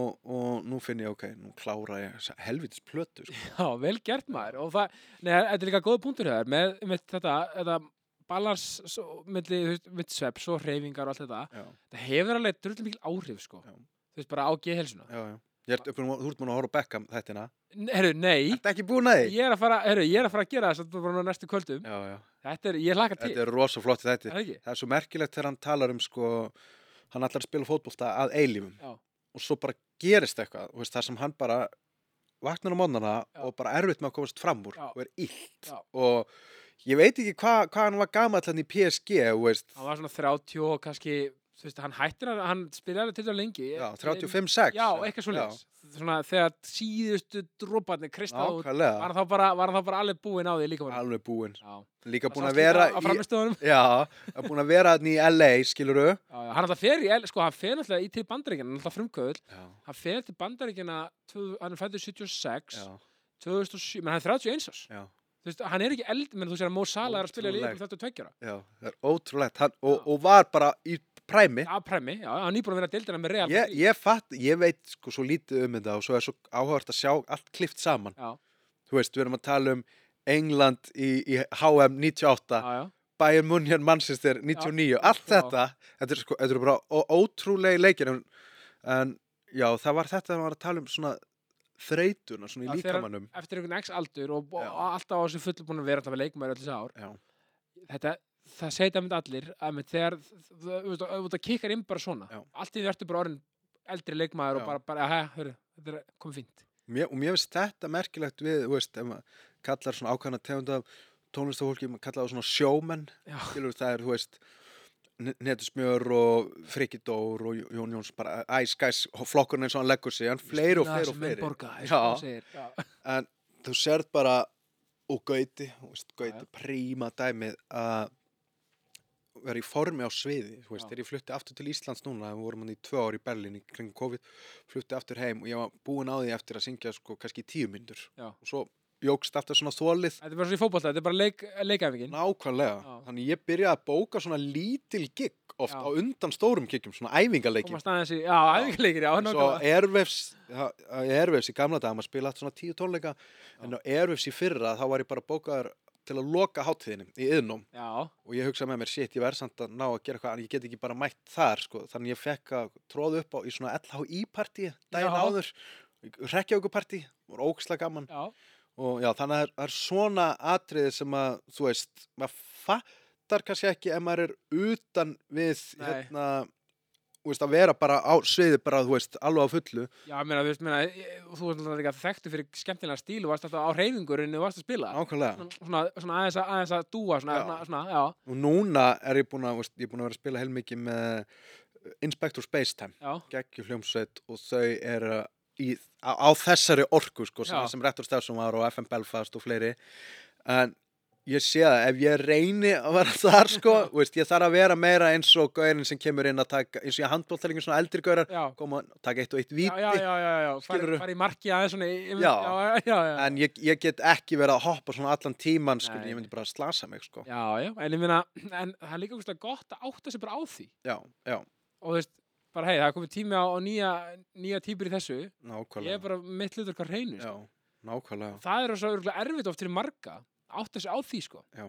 Speaker 2: og, og nú finn ég, ok, nú klára ég þessa helvitis plötu. Sko.
Speaker 1: Já, vel gert maður. Og það, nei, þetta er líka góða punktur hér með, með þetta, þetta balans svo- milli þú veist, milli sveps og hreyfingar og allt þetta.
Speaker 2: Já,
Speaker 1: Það hefur alveg drullið mikil áhrif, sko.
Speaker 2: Já.
Speaker 1: Þú veist, bara á geðhelsuna.
Speaker 2: já, já. Ég ert, búin, þú ert búin að horfa á Beckham þættina.
Speaker 1: Herru, nei.
Speaker 2: Þetta ekki búin að því?
Speaker 1: Ég er að fara, herru, ég er að fara að gera þess að bara núna næstu kvöldum.
Speaker 2: Já, já.
Speaker 1: Þetta er, ég hlaka til
Speaker 2: Þetta er rosa flott þetta.
Speaker 1: er það ekki?
Speaker 2: Það er svo merkilegt þegar hann talar um sko, hann allar að spila fótbolta að eilífum
Speaker 1: Já.
Speaker 2: og svo bara gerist eitthvað, þú veist, þar sem hann bara vaknar á mónana
Speaker 1: Já.
Speaker 2: og bara erfitt með að komast fram úr
Speaker 1: Já.
Speaker 2: og er illt
Speaker 1: Já.
Speaker 2: og ég veit ekki hva, hvað hann var gamall hann í PSG, þú veist,
Speaker 1: Hann var svona 30 og kannski þú veist, hann hættir að, hann spilaði til þetta lengi
Speaker 2: já, 35-6
Speaker 1: Já, eitthvað svo leis Svona þegar síðustu droparnir kristað út var
Speaker 2: Nákvæmlega,
Speaker 1: hann, þá bara, var hann þá bara alveg búinn á því líka bara
Speaker 2: alveg búinn
Speaker 1: Já
Speaker 2: Líka
Speaker 1: Það
Speaker 2: búinn
Speaker 1: sást
Speaker 2: að vera
Speaker 1: líka á
Speaker 2: í,
Speaker 1: framistöðunum.
Speaker 2: Já, að búin að vera þannig í LA, skiluru
Speaker 1: Já, já, Hann alltaf fer í, L- sko, hann fer alltaf í til bandaríkina, alltaf frumkvöðul
Speaker 2: Já,
Speaker 1: Hann fer til bandaríkina, tvö- hann er fættur 76
Speaker 2: já,
Speaker 1: 2007, menn hann er 31 árs
Speaker 2: já
Speaker 1: Þú veist, hann er ekki eld, menn þú sér að Mó Salah er að spila í
Speaker 2: Ótrúlegt.
Speaker 1: líka 32 ára
Speaker 2: Já, það er ótrúlegt hann, og,
Speaker 1: Já.
Speaker 2: og var bara í præmi
Speaker 1: Já, præmi, já, hann er nýbúin að vera að deildina með Real
Speaker 2: ég,
Speaker 1: Madrid.
Speaker 2: ég fatt, ég veit sko svo lítið um þetta og svo er svo áhört að sjá allt klift saman
Speaker 1: Já.
Speaker 2: Þú veist, við erum að tala um England í, í HM 98
Speaker 1: Já, já,
Speaker 2: Bayern Munchen Manchester 99 allt
Speaker 1: Já.
Speaker 2: þetta, þetta er, sko, þetta er bara ó- ótrúlegi leikir en, en já, það var þetta að var að tala um svona þreytuna, svona í
Speaker 1: Já, þegar-
Speaker 2: líkamannum
Speaker 1: eftir einhvern x aldur og, og
Speaker 2: Já.
Speaker 1: alltaf á þessu fullu búin að vera alltaf leikmaður öll þessi ár
Speaker 2: Já,
Speaker 1: þetta, það segja mynd allir að mynd þegar það kikkar inn bara svona
Speaker 2: Já.
Speaker 1: allt í því ertu bara orðin eldri leikmaður
Speaker 2: Já.
Speaker 1: og bara, bara hæ, hörru, þetta er komið fínt
Speaker 2: mér, og mér finnst þetta merkilegt við, þú veist, ef maður kallar svona ákvæmna tegund af tónlistafólki, maður kallar það svona sjómenn
Speaker 1: Já,
Speaker 2: skilur það er, þú veist Netusmjör og Frikki Dór og Jó- Jón Jóns bara æskæs flokkurinn eins og hann leggur sig, en fleiri og fleiri og
Speaker 1: sem menn
Speaker 2: fleiri
Speaker 1: borga, eins og þú
Speaker 2: Já,
Speaker 1: segir. Já.
Speaker 2: en þú sérð bara og gauti, þú veist, gauti
Speaker 1: Já,
Speaker 2: príma dæmið að vera í formi á sviði, þú
Speaker 1: Já.
Speaker 2: veist, þegar ég flutti aftur til Íslands núna, við vorum hann í tvö ár í Berlín í kring COVID, flutti aftur heim og ég var búinn á því eftir að syngja sko kannski í tíu myndur
Speaker 1: Já.
Speaker 2: og svo jógst alltaf svona þólið
Speaker 1: þetta er bara svo í fótbolta, þetta er bara leik, leikæfingin
Speaker 2: Nákvæmlega,
Speaker 1: Já.
Speaker 2: þannig ég byrjaði að bóka svona lítil gig oft
Speaker 1: Já.
Speaker 2: á undan stórum gigjum, svona æfingaleikjum
Speaker 1: komast aðeins í, já, æfingarleikir, já,
Speaker 2: svo
Speaker 1: nákvæmlega
Speaker 2: ervefs ervefs í gamla dag, maður spila allt svona tíu tónleika en á ervefs í fyrra þá var ég bara bókaður til að loka hátíðinni í yðnum
Speaker 1: Já,
Speaker 2: og ég hugsaði með mér, shit, ég verð samt að ná að gera eitthvað en ég get ekki bara mætt þar, sko þannig ég fekk að tróða upp á í svona LHI-partí daginn
Speaker 1: Já.
Speaker 2: áður rekkjaugurpartí, voru ógislega gaman
Speaker 1: já,
Speaker 2: og já, þannig að það er, það er svona atriði sem að, þú veist, maður fattar kannski ekki ef maður er utan við,
Speaker 1: Nei.
Speaker 2: hérna, þú veist, að vera bara á sviði bara, þú veist, alveg á fullu.
Speaker 1: já, meina, þú veist, meina, ég- þú varst alltaf líka þekktu fyrir skemmtilega stíl og varst alltaf á reyfingur en þú varst að spila.
Speaker 2: Nákvæmlega.
Speaker 1: Svona, svona, svona aðeins, að, aðeins að dúa, svona,
Speaker 2: Já.
Speaker 1: svona, svona, já,
Speaker 2: Og núna er ég búin að, þú veist, ég er búin að vera að spila heilmikið með uh, Inspector Spacetime,
Speaker 1: já,
Speaker 2: geggjum hljómsveit og þau eru í, á, á þessari orku, sko, sem,
Speaker 1: Já.
Speaker 2: sem Rettur Stefsson var og FM Belfast og fleiri. En ég sé það, ef ég reyni að vera (laughs) þar sko, þú veist, ég þarf að vera meira eins og gaurin sem kemur inn að taka, eins og ég handbóltælingin svona eldri gaurar,
Speaker 1: já.
Speaker 2: koma og taka eitt og eitt
Speaker 1: Já,
Speaker 2: víti,
Speaker 1: já, já, já, já,
Speaker 2: Skilurðu?
Speaker 1: fari, fari í marki aðeins svona, í- í-
Speaker 2: Já.
Speaker 1: já, já, já, já.
Speaker 2: en ég, ég get ekki verið að hoppa svona allan tíman, sko,
Speaker 1: Nei.
Speaker 2: ég myndi bara að slasa mig sko.
Speaker 1: já, já, en ég meina, en það er líka úrslega gott að átta sig bara á því
Speaker 2: Já, já,
Speaker 1: og þú veist, bara hei, það er komið tími á, á nýja, nýja típur í þessu, ég er
Speaker 2: nákvæmlega,
Speaker 1: bara mitt hlutur hvað reynu,
Speaker 2: já,
Speaker 1: sko.
Speaker 2: nákvæmlega,
Speaker 1: það er svo örugglega erfitt oft fyrir marga, að átta sig á því, sko,
Speaker 2: Já.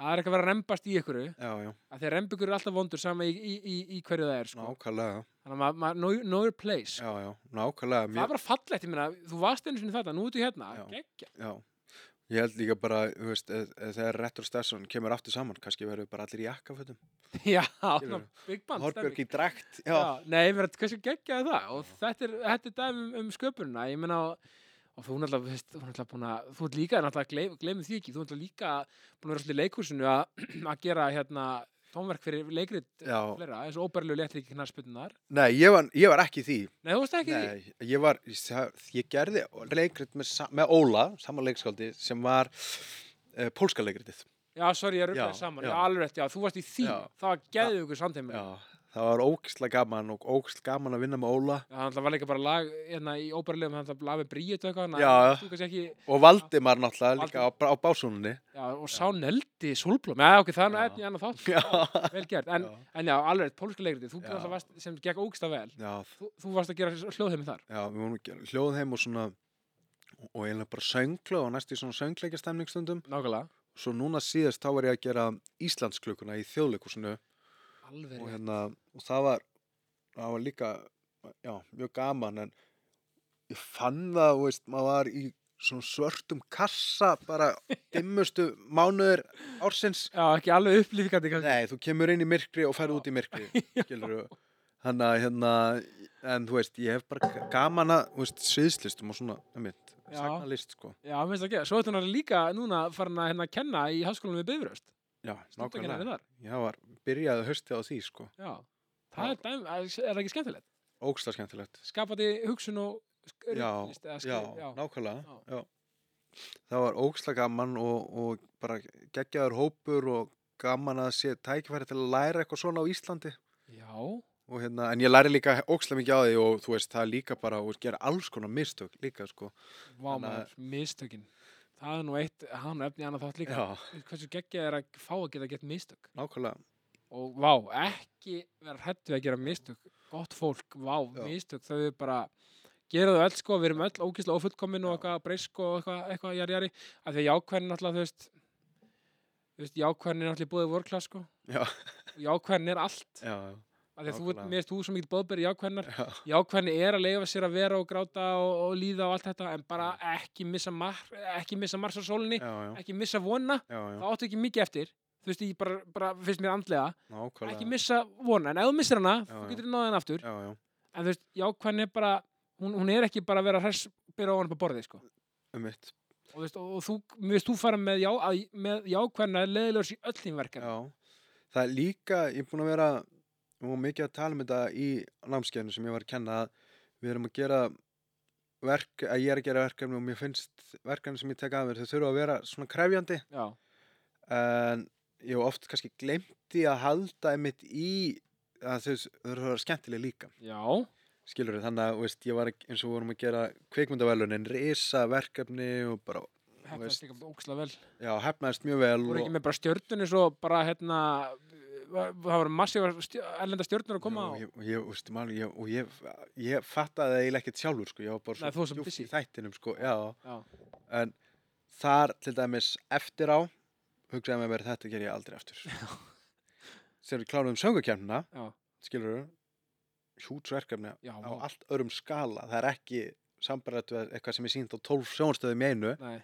Speaker 1: það er ekki að vera að rembast í ykkur,
Speaker 2: já, já,
Speaker 1: að því að remba ykkur er alltaf vondur sama í, í, í, í hverju það er, sko,
Speaker 2: nákvæmlega,
Speaker 1: þannig að maður, maður, know- know your place, sko.
Speaker 2: já, já, nákvæmlega,
Speaker 1: það
Speaker 2: mér,
Speaker 1: er bara fallegt, ég meina, þú varst einu sinni þetta, nú ertu hérna,
Speaker 2: Já.
Speaker 1: geggja, (laughs)
Speaker 2: já. Ég held líka bara, þú veist, eð- eð þegar Rettur Stefsson kemur aftur saman, kannski verður við bara allir í jakkafötum.
Speaker 1: já, svona
Speaker 2: Skilurðu?
Speaker 1: big band,
Speaker 2: Horbjörg
Speaker 1: stemning.
Speaker 2: í drækt, já,
Speaker 1: Já, nei, mér, hversu geggjaði það og þetta er, þetta er dæmi um, um sköpunina ég meina og, og þú náttúrulega veist, þú náttúrulega búin að, þú ert líka náttúrulega gleym, gleymið því ekki, þú náttúrulega líka búin að vera svolítið í leikhúsinu að, (clears throat) að gera hérna tónverk fyrir leikrit
Speaker 2: já.
Speaker 1: flera, eins og óbærilegu léttir ekki knarspunnar
Speaker 2: Nei, ég var, ég var ekki í því.
Speaker 1: Nei, þú veist ekki því
Speaker 2: Nei, ég var, ég, það- ég gerði leikrit með, sa- með Óla, saman leikskaldi, sem var uh, pólska leikritið.
Speaker 1: Já, sorry, ég
Speaker 2: Já,
Speaker 1: ruglaði saman,
Speaker 2: já.
Speaker 1: já, alveg rétt, já, þú varst í því
Speaker 2: Já.
Speaker 1: það var geðið ykkur samtími Já,
Speaker 2: Já, það var ógislega gaman og ógislega gaman að vinna með Óla
Speaker 1: það náttúrulega var líka bara lag hérna, í óbærilegum, það náttúrulega lag með bríið og eitthvað,
Speaker 2: Já.
Speaker 1: þú kannski ekki
Speaker 2: og Valdimar náttúrulega líka á, á básúnunni.
Speaker 1: Já, og sá neldi sólblóm, já, ok, það er nú
Speaker 2: Já.
Speaker 1: efni í annan þátt
Speaker 2: Já.
Speaker 1: vel gert, en
Speaker 2: Já.
Speaker 1: En já, alveg, pólska leikriti, þú
Speaker 2: Já.
Speaker 1: náttúrulega varst, sem gekk ógsta vel,
Speaker 2: Já,
Speaker 1: þú, þú varst að gera hljóðheimi þar.
Speaker 2: já, við vorum ekki hljóðheim og svona og eiginlega bara sönglu og næstu í svona söngleikastemningstundum.
Speaker 1: Nákvæmlega.
Speaker 2: Svo núna síðast þá var ég að gera Íslandsklukuna í þjóðleikusinu
Speaker 1: Alveg.
Speaker 2: og,
Speaker 1: rétt.
Speaker 2: hérna, og það var það var líka já, mjög gaman en ég fann það, þú veist, maður var í svona svörtum kassa bara dimmustu mánuður ársins
Speaker 1: Já, ekki alveg upplýfikandi kannski.
Speaker 2: Nei, þú kemur inn í myrkri og ferð út í myrkri skilur þú Þannig að hérna, en þú veist, ég hef bara gaman að, þú veist, sviðslistum og svona, einmitt,
Speaker 1: Já.
Speaker 2: sagnalist, sko.
Speaker 1: Já, mér finnst það ekki. Svo ætti hún að líka núna farin að hérna kenna í háskólanum við Bifröst.
Speaker 2: Já,
Speaker 1: Nákvæmlega.
Speaker 2: nákvæmlega.
Speaker 1: hérna Þar.
Speaker 2: Ég var, byrjaði haustið á því, sko.
Speaker 1: Já. Það er, dæm, er það ekki skemmtilegt.
Speaker 2: Ógsta skemmtilegt.
Speaker 1: Skapandi hugsun og sk-
Speaker 2: Já,
Speaker 1: ritlist eða
Speaker 2: Já,
Speaker 1: skri- já.
Speaker 2: nákvæmlega, já. Það var ógsta gaman og, og bara geggjaður hópur og gaman að sé tækifæri til að læra eitthvað svona á Íslandi.
Speaker 1: já.
Speaker 2: Og hérna, en ég læri líka ógsta mikið á því og þú veist, það er líka bara, og gera alls konar mistök líka, sko.
Speaker 1: Vá
Speaker 2: Þannig að-
Speaker 1: maður, mistökin. Það er nú eitt, hann efni annað þátt líka.
Speaker 2: Já,
Speaker 1: Hversu geggjað er að fá að geta gett mistök.
Speaker 2: nákvæmlega.
Speaker 1: Og vá, ekki vera hrættu að gera mistök. Gott fólk, vá,
Speaker 2: Já.
Speaker 1: mistök. Þau eru bara, gera þau öll sko, við erum öll ógísla ófullkomin og
Speaker 2: Já.
Speaker 1: eitthvað breysk og eitthvað, eitthvað jari jari. Af því að jákvæðin náttúrulega, þú veist, þú veist, jákvæðin er náttúrulega búið vorkla sko.
Speaker 2: Já.
Speaker 1: Og Jákvæðin er allt.
Speaker 2: Já, já.
Speaker 1: Af því að þú, ert-
Speaker 2: Nákvæmlega.
Speaker 1: mér veist, þú sem ekki bóðberi jákvæðinar
Speaker 2: Já,
Speaker 1: jákvæðni er að leifa sér að vera og gráta og, og líða og allt þetta en bara ekki missa, mar, ekki missa mars á sólinni
Speaker 2: já, já,
Speaker 1: ekki missa vona,
Speaker 2: já,
Speaker 1: það
Speaker 2: já,
Speaker 1: áttu ekki mikið eftir þú veist, ég bara, bara finnst mér andlega ekki
Speaker 2: nákvæmlega.
Speaker 1: missa vona, en ef þú missir hana
Speaker 2: Já,
Speaker 1: þú
Speaker 2: já.
Speaker 1: getur náðið hana aftur,
Speaker 2: Já, já,
Speaker 1: en þú veist, jákvæðni er bara hún, hún er ekki bara að vera hress byrja ofan på borðið, sko
Speaker 2: um mitt.
Speaker 1: og, þú veist, og, og þú, mér veist, þú fara með, já, að, með jákvæðna leðilegur sér öll þín verkefni
Speaker 2: Já. Það er líka, ég er búin að vera og mikið að tala um þetta í námskeiðinu sem ég var að kenna að við erum að gera verk, að ég er að gera verkefni og mér finnst verkefni sem ég tek að mér, þau þurfa að vera svona krefjandi
Speaker 1: já,
Speaker 2: en ég hef oft kannski glemti að halda einmitt í að þau þau þurfa að vera skemmtileg líka
Speaker 1: já,
Speaker 2: skilur þau, þannig að þú veist, ég var að- eins og við vorum að gera kvikmyndavælunin, risa verkefni og bara,
Speaker 1: þetta er
Speaker 2: veist.
Speaker 1: stíka ókslega vel
Speaker 2: já, hefnaðist mjög vel
Speaker 1: voru
Speaker 2: og-
Speaker 1: ekki með bara stjörnunni svo bara hérna var- það voru massífa stjö, erlenda stjörnur að koma á
Speaker 2: Já, og ég, og ég, veist, mál, ég, og ég, ég fattaði það eiginlega ekkert sjálfur sko, ég var bara
Speaker 1: Nei, þú varst svo
Speaker 2: djúpt
Speaker 1: busy.
Speaker 2: í þættinum sko, já,
Speaker 1: Já.
Speaker 2: en þar til dæmis eftir á hugsaði með mér þetta ger ég aldrei
Speaker 1: (laughs)
Speaker 2: aftur sem við kláruðum söngakefnina
Speaker 1: Já.
Speaker 2: skilur við hjútsverkefni
Speaker 1: já,
Speaker 2: á allt örum skala það er ekki sambarlegt við eitthvað sem er sínt á 12 sjónstöðum í einu
Speaker 1: nei,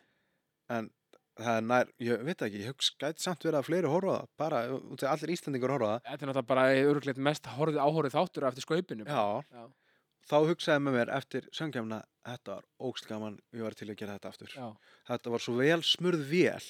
Speaker 2: það er nær, ég veit það ekki, ég hugsa gæti samt verið að fleiri horfa á það, bara út af allir Íslandingur horfa á það
Speaker 1: þetta er náttúrulega bara örugleitt mest horfið áhorið þáttur eftir skaupinu
Speaker 2: Já.
Speaker 1: Já.
Speaker 2: Þá hugsaði með mér eftir söngjafna, þetta var ógst gaman, ég var til að gera þetta aftur.
Speaker 1: Já.
Speaker 2: Þetta var svo vel smurð vél,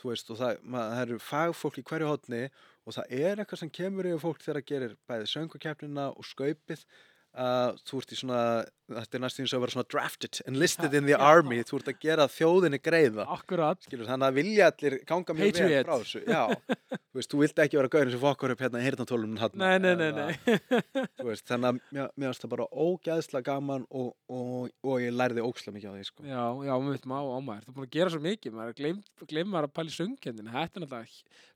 Speaker 2: þú veist, og það, maður, það eru fagfólk í hverju hotni og það er eitthvað sem kemur yfir fólk þegar það gerir bæði söngukeppnina og skaupið. Uh, þú ert í svona, þetta er næstum eins og að vera svona drafted, enlisted in the army, þú ert að gera þjóðinni greiða
Speaker 1: akkurat
Speaker 2: skilur, þannig að vilja allir ganga mjög vel
Speaker 1: Patriot.
Speaker 2: frá þessu já, þú veist, þú vildi ekki vera gaurin sem fokkar upp hérna í hirtantólum
Speaker 1: nei, nei, nei, nei.
Speaker 2: Þú veist, þannig að mér, mér varst það bara ógæðslega gaman og, og, og ég læriði ógæðslega mikið á því sko.
Speaker 1: já, já, við veitum á ámæður þú er búin að gera svo mikið, maður gleym, gleym maður að pæli söngkendin þetta er náttúrulega,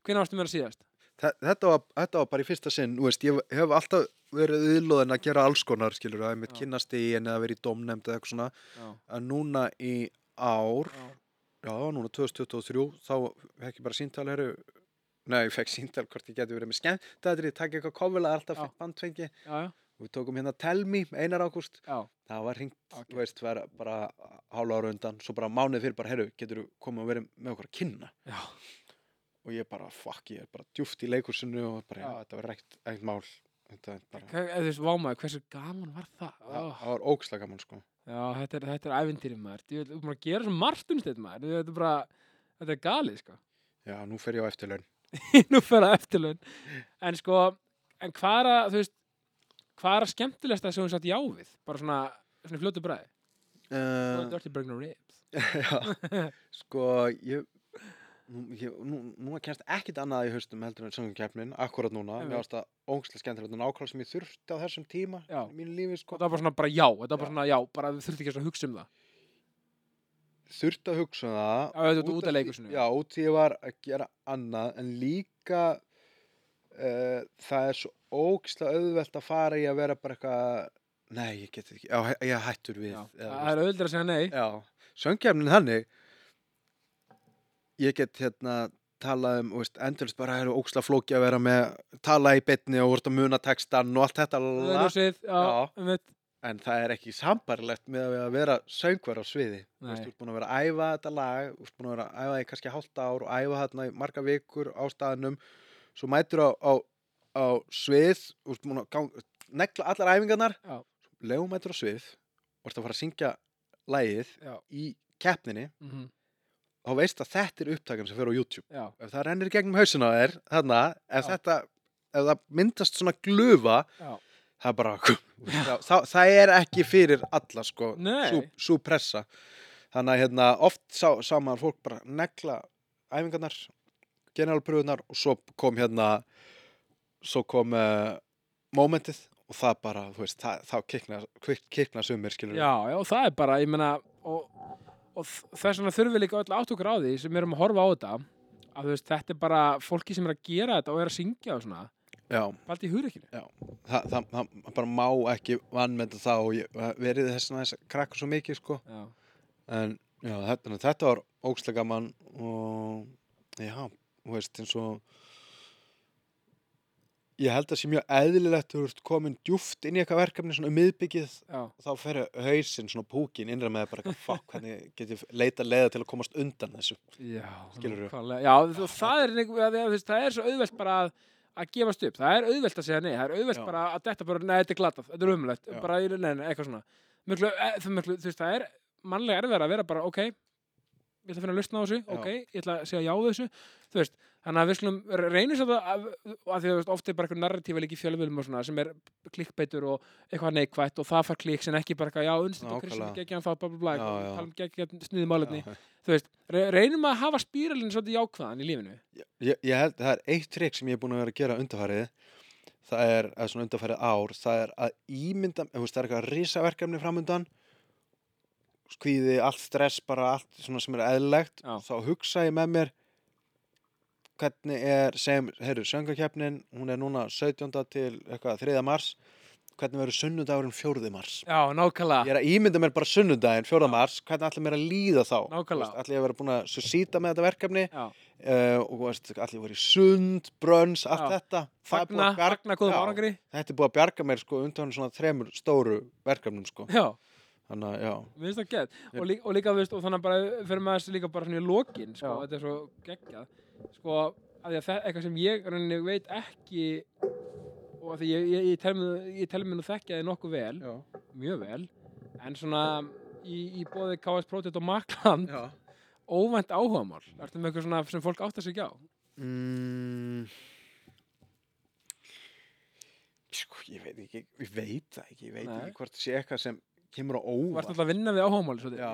Speaker 1: hvernig varstu með að síðast?
Speaker 2: Þe- þetta var, þetta var bara í fyrsta sinn þú veist, ég hef alltaf verið yðlóðin að gera alls konar skilur, að ég mitt
Speaker 1: Já.
Speaker 2: kynnast í en að vera í domnefnd eða eitthvað svona
Speaker 1: Já,
Speaker 2: en núna í ár
Speaker 1: já,
Speaker 2: já, það var núna 2023 þá fekk ég bara síntal heru, nei, ég fekk síntal hvort ég geti verið með skemmt þetta er ég takk eitthvað kofulega alltaf
Speaker 1: Já.
Speaker 2: bandfengi
Speaker 1: já, já,
Speaker 2: við tókum hérna Tell Me, Einar Ágúst
Speaker 1: já.
Speaker 2: það var hringt,
Speaker 1: Ok.
Speaker 2: þú veist, var bara hálfa ára undan, svo bara mánuð fyrir bara, herru, getur þú komið að vera með okkur að kynna
Speaker 1: já.
Speaker 2: og ég bara, fuck, ég er bara djúft í leikursinu og bara, já,
Speaker 1: Já.
Speaker 2: þetta var ekkert, ekkert mál þetta er bara,
Speaker 1: Hva- eða Þú veist, vámaður, hversu gaman var það?
Speaker 2: það,
Speaker 1: Ó.
Speaker 2: það var ógslag gaman, sko
Speaker 1: Já, þetta er, þetta er ævintýri maður. Þú veit, þú ert búin að gera svo margt um stið maður. Þetta er bara, þetta er galið, sko. (laughs)
Speaker 2: já, nú fer ég á eftirlaun
Speaker 1: Nú fer að eftirlaun. En sko, en hvað er að, þú veist, hvað er að skemmtilegsta sem hún satt já við? Bara svona, svona í fljótu bræði. Uh.
Speaker 2: uh,
Speaker 1: Dirty Burger Ribs.
Speaker 2: já, sko, ég nú, ég, nú, nú kennst ekkit annað í haustum heldur en söngumkeppnin, akkurat núna
Speaker 1: Einmitt.
Speaker 2: mér varst það ógslag skemmtilegt og nákvæmlega sem ég þurfti á þessum tíma
Speaker 1: Já.
Speaker 2: í mínu lífi, sko
Speaker 1: Þetta var bara svona bara já, þetta var bara
Speaker 2: Já.
Speaker 1: svona já, bara þú þurft ekki að svona hugsa um það.
Speaker 2: þurfti að hugsa um það
Speaker 1: Já, þetta
Speaker 2: af
Speaker 1: út að
Speaker 2: því-
Speaker 1: leikusinu.
Speaker 2: já, út því ég var að gera annað en líka uh, það er svo ógislega auðvelt að fara í að vera bara eitthvað nei, ég get ekki, já, hæ- ég er hættur við
Speaker 1: Já.
Speaker 2: eða,
Speaker 1: Það er auðvitað að segja nei.
Speaker 2: já, söngjafnin þannig ég get hérna talað um, þú veist, endurist bara er ógislega flóki að vera með tala í betni og úr að muna textan og allt þetta
Speaker 1: Það
Speaker 2: la-
Speaker 1: er ljósið, já,
Speaker 2: Já.
Speaker 1: um veit,
Speaker 2: en það er ekki sambarlegt með að við að vera söngvar á sviði Þú veist,
Speaker 1: Nei.
Speaker 2: þú ert búin að vera að æfa þetta lag þú ert búin að vera að æfa því kannski hálft ár og æfa þarna í marga vikur á staðnum svo mætur á, á, á svið þú ert búin að gang, negla allar æfingarnar
Speaker 1: Já.
Speaker 2: legum mætur á svið og ert að fara að syngja lagið
Speaker 1: Já.
Speaker 2: í keppninni
Speaker 1: Mhm.
Speaker 2: þá veist að þetta er upptakan sem fer á YouTube
Speaker 1: Já,
Speaker 2: ef það rennir í gegnum hausina á þér þarna, ef
Speaker 1: Já.
Speaker 2: þetta ef það myndast svona glufa
Speaker 1: já,
Speaker 2: það er bara (laughs) já, það, það er ekki fyrir alla sko,
Speaker 1: Nei.
Speaker 2: sú, sú pressa þannig að hérna, oft sá, sá maður fólk bara negla æfingarnar generalpröfunar og svo kom hérna svo kom uh, momentið og það bara, þú veist, það, þá kikna, kikna sumir, skilur
Speaker 1: já, já, og það er bara, ég meina, og, og þ- þess vegna þurfum við líka öll átt okkur á því sem erum að horfa á þetta, að þú veist, þetta er bara fólki sem er að gera þetta og er að syngja og svona,
Speaker 2: já.
Speaker 1: bara í hugreikinu.
Speaker 2: það, það, það bara má ekki vannmenda það og ég, verið þess að þess krakka svo mikið sko
Speaker 1: Já,
Speaker 2: en já, þetta, þetta var ógstlega gaman og já, þú veist eins og ég held að sé mjög eðlilegt þú ert komin djúft inn í eitthvað verkefni svona um miðbyggið
Speaker 1: já,
Speaker 2: þá fer hausinn svona púkin innra með bara eitthvað fokk hvernig get ég leita leiða til að komast undan þessu
Speaker 1: já,
Speaker 2: Skilurðu?
Speaker 1: nákvæmlega. Já, og það er, einhver- að- að þú veist, það er svo auðvelt bara að, að gefast upp, það er auðvelt að segja nei, það er auðvelt
Speaker 2: Já.
Speaker 1: bara að detta bara, nei, þetta er glatað, þetta er umlegt,
Speaker 2: Já.
Speaker 1: bara, nei, nei, eitthvað svona. Mjöglu, það, mjöglu, þú veist, það er mannlega erfiðar að vera bara, ok, ég ætla að finna að lausna á þessu,
Speaker 2: Já.
Speaker 1: ok, ég ætla að segja já við þessu, þú veist, þannig að við slum reynum svo að, að því að þú veist, oft er bara eitthvað narratífa líki fjölmjölum og svona sem er klikkbeitur og eitthvað neikvætt og það fær klikk sem ekki bara eitthvað, já, unnstætt og kristin
Speaker 2: Nákvæmlega.
Speaker 1: geggjan þá, bla, bla, bla,
Speaker 2: Já,
Speaker 1: og
Speaker 2: já.
Speaker 1: tala um geggjan sniðum álefni,
Speaker 2: Já.
Speaker 1: þú veist, re- reynum að hafa spíralinn svolítið jákvæðan í lífinu.
Speaker 2: ég, ég held, það er eitt trikk sem ég er búin að vera að gera undarfærið það er, eða svona undarfærið ár það er að ímynda, þú veist, það er eitthvað risaverkefni framundan skvíði allt stress, bara allt svona sem er eðlilegt,
Speaker 1: Já.
Speaker 2: þá hugsa ég með mér hvernig er, segjum, heyrðu, söngakefnin hún er núna 17. til eitthvað 3. mars, hvernig verður sunnudagurinn 4. mars
Speaker 1: Já, nákvæmlega,
Speaker 2: ég er að ímynda mér bara sunnudaginn 4. mars hvernig ætla mér að líða þá
Speaker 1: Nákvæmlega.
Speaker 2: ætla ég að vera búin að susíta með þetta verkefni
Speaker 1: já,
Speaker 2: uh, og þú veist, allir voru í sund, brönns, allt
Speaker 1: Já.
Speaker 2: þetta Það er búið
Speaker 1: fagna,
Speaker 2: að bjarga-
Speaker 1: fagna góðum
Speaker 2: Já,
Speaker 1: árangri,
Speaker 2: þetta er búið að bjarga mér sko undan svona þremur stóru verkefnum sko
Speaker 1: já.
Speaker 2: þannig að já,
Speaker 1: Mér finnst það gett og, líka, og líka, þú veist, og þannig að bara fyrir maður þessu líka bara svona í lokin, sko,
Speaker 2: Já.
Speaker 1: þetta er svo geggjað, sko, af því að það er eitthvað sem ég rauninni veit ekki og af því ég, ég, ég, tel mig- ég tel mér nú þekkja þið nokkuð vel,
Speaker 2: já.
Speaker 1: mjög vel en svona í, í bóði KS Project og Makland, óvænt áhugamál ertu með eitthvað svona sem fólk átt að segja á
Speaker 2: Mm, sko, ég veit ekki ég veit það ekki, ég veit
Speaker 1: Nei.
Speaker 2: ekki hvort það sé eitthvað sem kemur á
Speaker 1: Þú ert
Speaker 2: óvart
Speaker 1: alltaf að vinna við áhugamál svo
Speaker 2: já,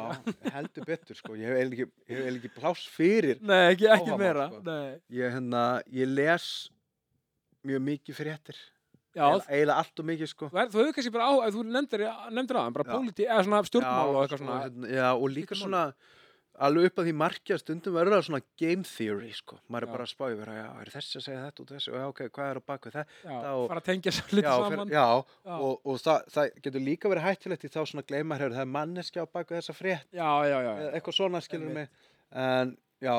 Speaker 2: heldur betur sko ég hef eiginlega ekki, ég hef eiginlega ekki pláss fyrir
Speaker 1: Nei, ekki, ekki
Speaker 2: Áhugamál,
Speaker 1: meira
Speaker 2: sko.
Speaker 1: Nei.
Speaker 2: ég, hérna, ég les mjög mikið fréttir
Speaker 1: Já,
Speaker 2: Eiginlega- eiginlega allt og mikið sko
Speaker 1: þú, er, þú hefur kannski bara áhuga þú nefndir, nefndir aðan, bara
Speaker 2: Já.
Speaker 1: póliti eða svona stjórnmál
Speaker 2: Já,
Speaker 1: og eitthvað
Speaker 2: svo
Speaker 1: svona
Speaker 2: hérna, já, og líka
Speaker 1: skiptir
Speaker 2: svona alveg upp að því markja stundum verður það svona game theory sko. maður
Speaker 1: Já.
Speaker 2: er bara að spá yfir að já, er þessi að segja þetta og þessi og já, ok, hvað er á bakvið það
Speaker 1: já,
Speaker 2: og-
Speaker 1: fara að tengja svo
Speaker 2: já,
Speaker 1: lítið
Speaker 2: fer,
Speaker 1: saman
Speaker 2: já,
Speaker 1: Já.
Speaker 2: og, og það, það getur líka verið hættilegt í þá svona gleyma hefur það er manneskja á bakvið þessa frétt
Speaker 1: já, já, já,
Speaker 2: eða
Speaker 1: já.
Speaker 2: Eh, eitthvað svona skilur
Speaker 1: Einmitt.
Speaker 2: mig en já,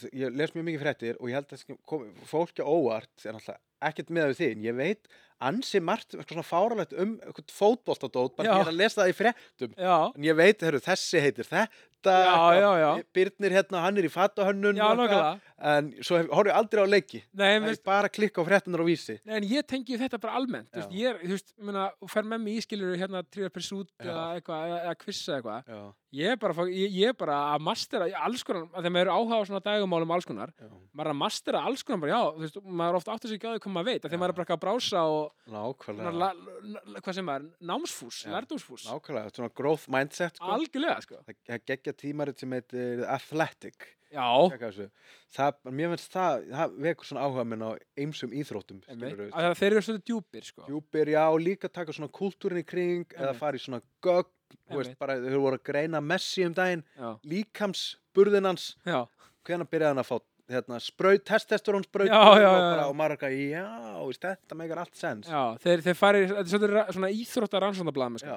Speaker 2: þ- ég les mjög mikið fréttir og ég held að það komi- fólki á óvart er alltaf ekkert með því en ég veit ansi margt eitthvað svona fáralegt um eitthvað fótboltadót bara
Speaker 1: Já.
Speaker 2: ég er að lesa það í fréttum
Speaker 1: Já,
Speaker 2: en ég veit, heyrðu, þessi heitir þetta
Speaker 1: já, já, já.
Speaker 2: Byrnir hérna, hann er í fattahönnun
Speaker 1: Já,
Speaker 2: og eitthvað.
Speaker 1: nákvæmlega.
Speaker 2: en svo hef- horfum ég aldrei á leiki
Speaker 1: Nei,
Speaker 2: það
Speaker 1: veist,
Speaker 2: er bara að klikka á fréttunar á vísi
Speaker 1: nei, en ég tengi þetta bara almennt, þú veist,
Speaker 2: Já.
Speaker 1: ég er, þú veist, muna, fer með mig ískilur hérna tríðar persút
Speaker 2: Já.
Speaker 1: eða eitthvað, eða- eða kvissa eitthvað.
Speaker 2: já,
Speaker 1: Ég er bara, að fá- ég, ég er bara að mastera í alls konar, að þegar maður eru áhuga á svona dagumálum alls konar,
Speaker 2: já,
Speaker 1: maður er að mastera alls konar bara, já, þú veist, maður er ofta átt að segja á því hvað maður veit, að þegar
Speaker 2: Já.
Speaker 1: maður er bara eitthvað að brása og, svona,
Speaker 2: nákvæmlega
Speaker 1: la, la, la, hvað sem er, námsfús,
Speaker 2: Já.
Speaker 1: lærdómsfús,
Speaker 2: nákvæmlega, svona growth mindset sko.
Speaker 1: algjörlega, sko.
Speaker 2: það það geggja tímarit sem heitir Athletic
Speaker 1: Já,
Speaker 2: Tjekka þessu. það, mér finnst það, það vekur svona áhuga minn á ymsum íþróttum
Speaker 1: einmitt.
Speaker 2: skilurðu.
Speaker 1: Af því að þeir eru svolítið djúpir, sko.
Speaker 2: djúpir, já, líka taka svona kultúrin í kring eða
Speaker 1: Einmitt.
Speaker 2: fara í svona gögn þú veist,
Speaker 1: Einmitt.
Speaker 2: bara, þau voru að greina Messi um daginn
Speaker 1: Já,
Speaker 2: líkams burðinans
Speaker 1: já,
Speaker 2: hvenær byrjaði hann að fá hérna, spraut, testosterón spraut
Speaker 1: Já, já, já,
Speaker 2: og, bara,
Speaker 1: já.
Speaker 2: og maður er eitthvað, já, veist, þetta megar allt sens
Speaker 1: já, þeir, þeir fari, þetta er svolítið ra- svona íþróttar rannsóndablaðum, sko. Já,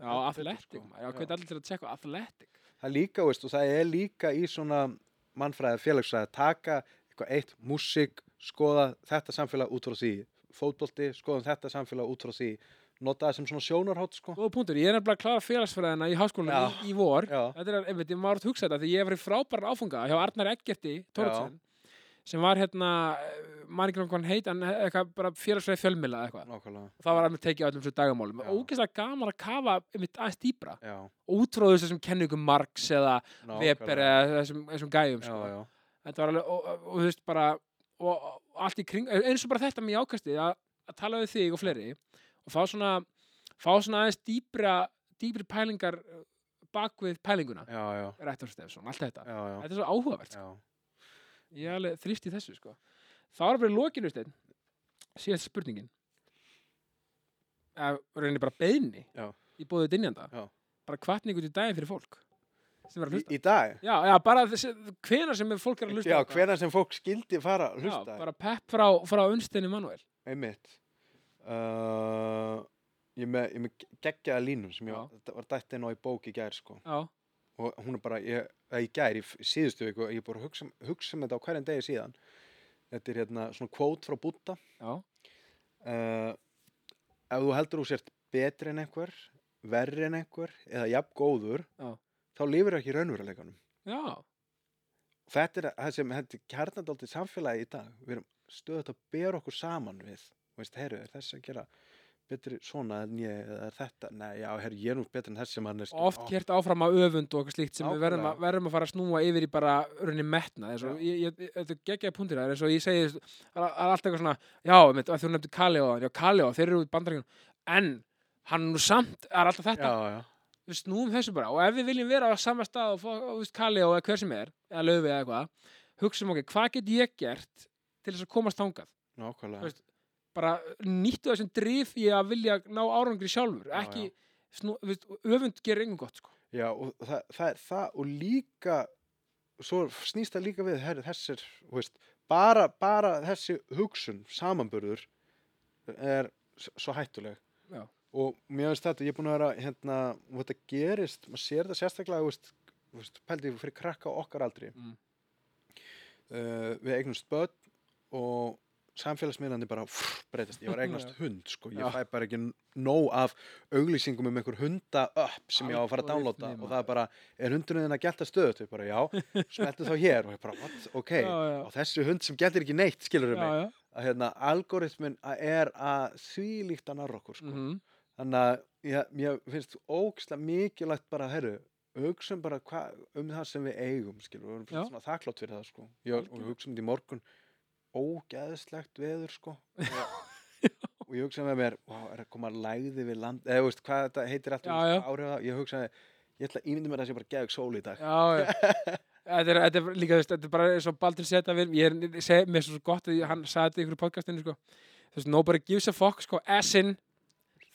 Speaker 2: Heldur betur,
Speaker 1: athletic,
Speaker 2: sko.
Speaker 1: maður. já, hvernig
Speaker 2: Já.
Speaker 1: allir til að tjekka athletic?
Speaker 2: það er líka, veist, og það er líka í svona mannfræði félagsfræði að taka eitthvað eitt, músík, skoða þetta samfélag út frá því fótbolti, skoðum þetta samfélag út frá því nota það sem svona sjónarhótt sko.
Speaker 1: Góða punktur, ég er nefnilega að klára félagsfræðina í háskólanum
Speaker 2: Já.
Speaker 1: í, í vor
Speaker 2: Já.
Speaker 1: Þetta er einmitt, ég var að hugsa þetta því ég hef verið frábæran áfunga hjá Arnar Eggerti Tóruðsson sem var hérna, maður ekki hann heit en eh, eitthvað bara félagsfræði fjölmila eitthvað
Speaker 2: Nákvæmlega.
Speaker 1: og það var alveg tekið á öllum svo dagamálum
Speaker 2: Já.
Speaker 1: ógeðslega gaman að kafa einmitt aðeins dýbra
Speaker 2: Já,
Speaker 1: útróðu þessum kenningum Marx eða
Speaker 2: nákvæmlega.
Speaker 1: Weber eða þessum, þessum gæjum
Speaker 2: Já,
Speaker 1: sko.
Speaker 2: já.
Speaker 1: þetta var alveg, og, og, og þú veist bara og, og allt í kring, eins og bara þetta með jákastið að, að tala við þig og fleiri og fá svona, fá svona aðeins dýbra, dýbri pælingar eh, bak við pælinguna
Speaker 2: Já, já.
Speaker 1: Rektor Stefson, allt þetta
Speaker 2: Já, já.
Speaker 1: þetta er svo áhugavert,
Speaker 2: Já.
Speaker 1: sko. ég er alveg þrýst í þessu sko. þá er bara í lokinu stein síðast spurningin að reynir bara beðni
Speaker 2: Já.
Speaker 1: í bóðið dynjanda
Speaker 2: Já.
Speaker 1: bara hvatningu til daginn fyrir fólk sem er að
Speaker 2: Í,
Speaker 1: hlusta
Speaker 2: í dag?
Speaker 1: já, já, bara þessi, hvenar sem er fólk er að hlusta
Speaker 2: Já,
Speaker 1: á þetta.
Speaker 2: hvenær sem fólk skildi fara að
Speaker 1: Já,
Speaker 2: hlusta.
Speaker 1: bara pepp frá, frá unnsteinu Manuel
Speaker 2: Einmitt. Uh, ég er með, ég er með geggjaða línum sem ég
Speaker 1: Já.
Speaker 2: þetta var dætt inn á í bók í gær, sko.
Speaker 1: Já,
Speaker 2: Og hún er bara, ég, eða í gær, í f- síðustu viku, ég er bara að hugsa, um- hugsa um þetta á hverjum degi síðan. Þetta er hérna svona kvót frá Búta.
Speaker 1: já,
Speaker 2: Uh, ef þú heldur þú sért betri en einhver, verri en einhver, eða jafn góður,
Speaker 1: Já.
Speaker 2: þá lifir ekki raunveruleikanum.
Speaker 1: já,
Speaker 2: þetta er það sem þetta er kjarnandaldi samfélagi í dag við erum stöðut að bera okkur saman við Þú veist, herru, er þess að gera betri svona en ég eða er þetta, nei, já, herru, ég er nú betri en þess sem hann er
Speaker 1: oft kert áfram að öfund og eitthvað slíkt sem við verðum,
Speaker 2: Sko, Nákvæmlega.
Speaker 1: að- verðum að fara að snúa yfir í bara rauninni metna, þess
Speaker 2: Já.
Speaker 1: að ég- ég- þetta er geggjaði punktir það er eins og ég segi, það er alltaf eitthvað svona já, mitt, þú nefndi Kaleo, já, Kaleo þeir eru út bandaríkjum, en hann er nú samt, það er alltaf
Speaker 2: já,
Speaker 1: þetta
Speaker 2: já,
Speaker 1: við snúum þessu bara, og ef við viljum vera á sama stað og fá, þú veist, Kaleo eða hver sem er eða löfi eða eitthvað, hugsum okkur hvað get ég gert til þess að komast þangað Þú
Speaker 2: nákvæmlega
Speaker 1: veist, bara nýttu þessum drif í að vilja ná árangri sjálfur
Speaker 2: Já,
Speaker 1: ekki, Snú, við, öfund gerir engum gott sko.
Speaker 2: já, og það, það er það og líka svo snýst það líka við, herru, þessir þú veist, bara, bara þessi hugsun samanburður er s- svo hættuleg
Speaker 1: Já.
Speaker 2: og mér finnst þetta, ég er búin að vera hérna, og þetta gerist, maður sér þetta sérstaklega, þú veist, þú veist, pældi fyrir krakka á okkar aldri
Speaker 1: Mm.
Speaker 2: uh, við eignumst börn og samfélagsmiðlandi bara frr, breytast, ég var að eignast hund sko, ég
Speaker 1: Já.
Speaker 2: fæ bara ekki nóg af auglýsingum um einhver hunda upp sem ég á að fara að downloada
Speaker 1: Algoritmi,
Speaker 2: og það er bara, er hundurinn þinn að gelta stöðut ég bara, já, smeltu þá hér og ég bara, what, ok,
Speaker 1: já, já,
Speaker 2: og þessi hund sem geltir ekki neitt, skilur mig,
Speaker 1: já, já.
Speaker 2: að hérna, algoritmin er að þvílíkt að narra okkur sko.
Speaker 1: Mm -hmm.
Speaker 2: Þannig að ég, ég finnst ógstlega mikilvægt bara, herru, hugsaum bara hva, um það sem við eigum, skilur, við erum
Speaker 1: Já.
Speaker 2: svona þakklátt fyrir það, sko. Ég, og
Speaker 1: Algjörlega.
Speaker 2: við hugsaum þetta í morgun, ógeðslegt veður,
Speaker 1: (laughs)
Speaker 2: sko. Og, og ég hugsaði með mér, vá, er að koma lægði við land, eða, þú veist, hvað þetta heitir
Speaker 1: Já,
Speaker 2: alltaf,
Speaker 1: já.
Speaker 2: áhrif það, ég hugsaði, ég ætla að ímyndi mér að það sé bara geðug sól í dag.
Speaker 1: já, já. Þetta er, þetta er líka, þú veist, þetta er bara eins og Baldur seta vil, ég er, seg, mér er svo gott að ég- hann sagði þetta í einhverju podcastinu, sko, þú veist, nobody gives a fuck, sko, assin,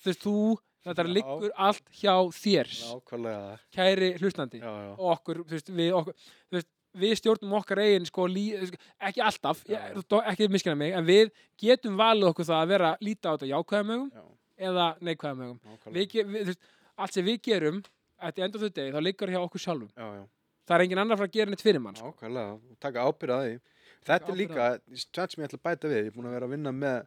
Speaker 1: þú veist, þú, þetta
Speaker 2: Já.
Speaker 1: liggur allt hjá þér,
Speaker 2: Nákvæmlega,
Speaker 1: kæri hlustandi,
Speaker 2: já, já.
Speaker 1: og okkur, þú veist, við, okkur, þú veist, við stjórnum okkar eigin sko, lí, sko, ekki alltaf,
Speaker 2: Já,
Speaker 1: ég,
Speaker 2: já.
Speaker 1: þó- ekki miskinna mig, en við getum valið okkur það að vera líta á þetta jákvæðamögum
Speaker 2: Já,
Speaker 1: eða neikvæðamögum. Við,
Speaker 2: nákvæmlega.
Speaker 1: ge- við, þú veist, allt sem við gerum, þetta er enda þau degi, þá liggur hjá okkur sjálfum.
Speaker 2: Já, já.
Speaker 1: Það er engin annar frá að gera neitt fyrir mann. Sko.
Speaker 2: Nákvæmlega, og taka ábyrðaði Þetta er líka,
Speaker 1: ábyrgð
Speaker 2: tjátt sem ég ætla að bæta við Ég er búin að vera að vinna með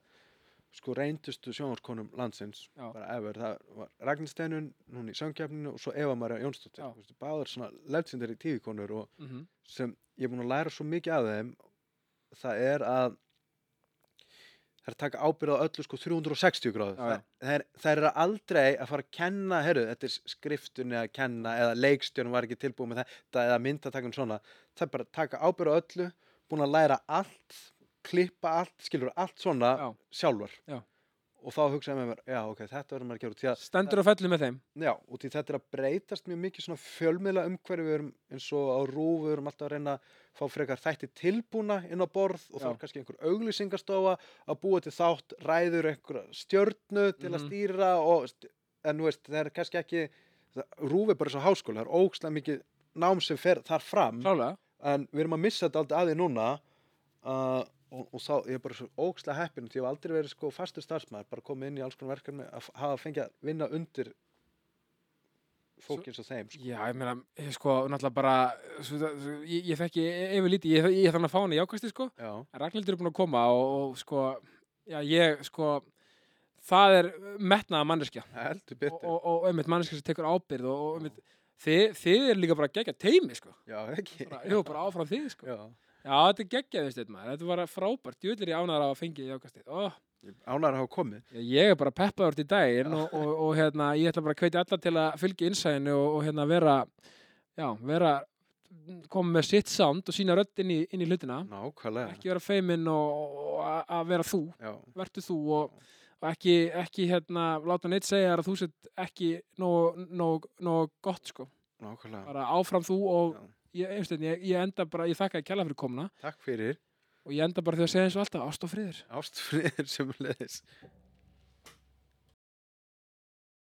Speaker 2: sko reyndustu sjónvarskonum landsins
Speaker 1: Já.
Speaker 2: bara ever, það var Ragnar Steinun hún í söngkjafninu og svo Eva Maria Jónsdóttir
Speaker 1: Já.
Speaker 2: Þú veist, báðar svona legendary tífikonur og
Speaker 1: Mm
Speaker 2: sem ég er búin að læra svo mikið af þeim það er að það er að taka ábyrða á öllu sko 360 gráður
Speaker 1: Já, já.
Speaker 2: það, það, er, það er aldrei að fara að kenna herru, þetta er skriftunni að kenna eða leikstjörn var ekki tilbúið með þetta eða myndatakun svona, það er bara að taka ábyrða á öllu búin að læra allt klippa allt, skilur allt svona
Speaker 1: Já.
Speaker 2: sjálfur
Speaker 1: Já.
Speaker 2: og þá hugsaði með mér, já ok, þetta verður maður að gera út í að
Speaker 1: Stendur og fellur með þeim.
Speaker 2: Já, og því þetta er að breytast mjög mikið svona fjölmiðla umhverfi, við erum eins og á rúf, við erum alltaf að reyna að fá frekar þætti tilbúna inn á borð og þá
Speaker 1: Já.
Speaker 2: er kannski einhver auglýsingastofa að búa til þátt, ræður einhver stjörnu til að
Speaker 1: Mhm.
Speaker 2: stýra og, st- en þú veist, það er kannski ekki, það- rúf er bara svo háskóla, það er ógstlega mikið nám sem fer þar fram,
Speaker 1: Klálega.
Speaker 2: en við erum að missa þetta aldrei aðið núna uh, og, og þá, ég er bara svo ógstlega heppin, því ég hef aldrei verið sko fastur starfsmæður, bara komið inn í alls konar verkefni að f- hafa fengið að vinna undir fólk eins og þeim sko.
Speaker 1: Já, ég meina, ég, sko, náttúrulega bara, svo, svo, ég, ég þekki yfir lítið, ég, ég, ég þannig að fá hann í jákvæsti, sko,
Speaker 2: Já,
Speaker 1: Ragnhildur er búin að koma og, og sko, já, ég, sko, það er metnaða manneskja
Speaker 2: heldur
Speaker 1: og,
Speaker 2: betur
Speaker 1: og, og einmitt manneskja sem tekur ábyrð og, og einmitt, þið, þið er líka bara geggja teimi sko.
Speaker 2: já, ekki
Speaker 1: bara, jú, bara áfram þið sko. já.
Speaker 2: (laughs) já.
Speaker 1: þetta er geggjaðið stið maður, þetta var frábært ég vil er ég ánæður á að fengi í ákastið oh,
Speaker 2: ánar að hafa komið
Speaker 1: Já, Ég er bara peppaður til daginn og, og, og hérna, ég ætla bara að kveiti alla til að fylgja innsæðinu og, og hérna vera, já, vera, koma með sitt sound og sína rödd inn í, inn í hlutina.
Speaker 2: nákvæmlega
Speaker 1: Ekki vera feiminn og, og a- að vera þú,
Speaker 2: já,
Speaker 1: vertu þú og, og ekki, ekki hérna, láta neitt segja þér að þú sett ekki nóg, nóg, nóg gott, sko.
Speaker 2: nákvæmlega
Speaker 1: Bara áfram þú og ég, einstæðin, ég, ég enda bara, ég þakka að kjalla fyrir komna
Speaker 2: takk fyrir
Speaker 1: og ég enda bara því að segja eins og alltaf, ást og friður.
Speaker 2: ástfriðir sem leðis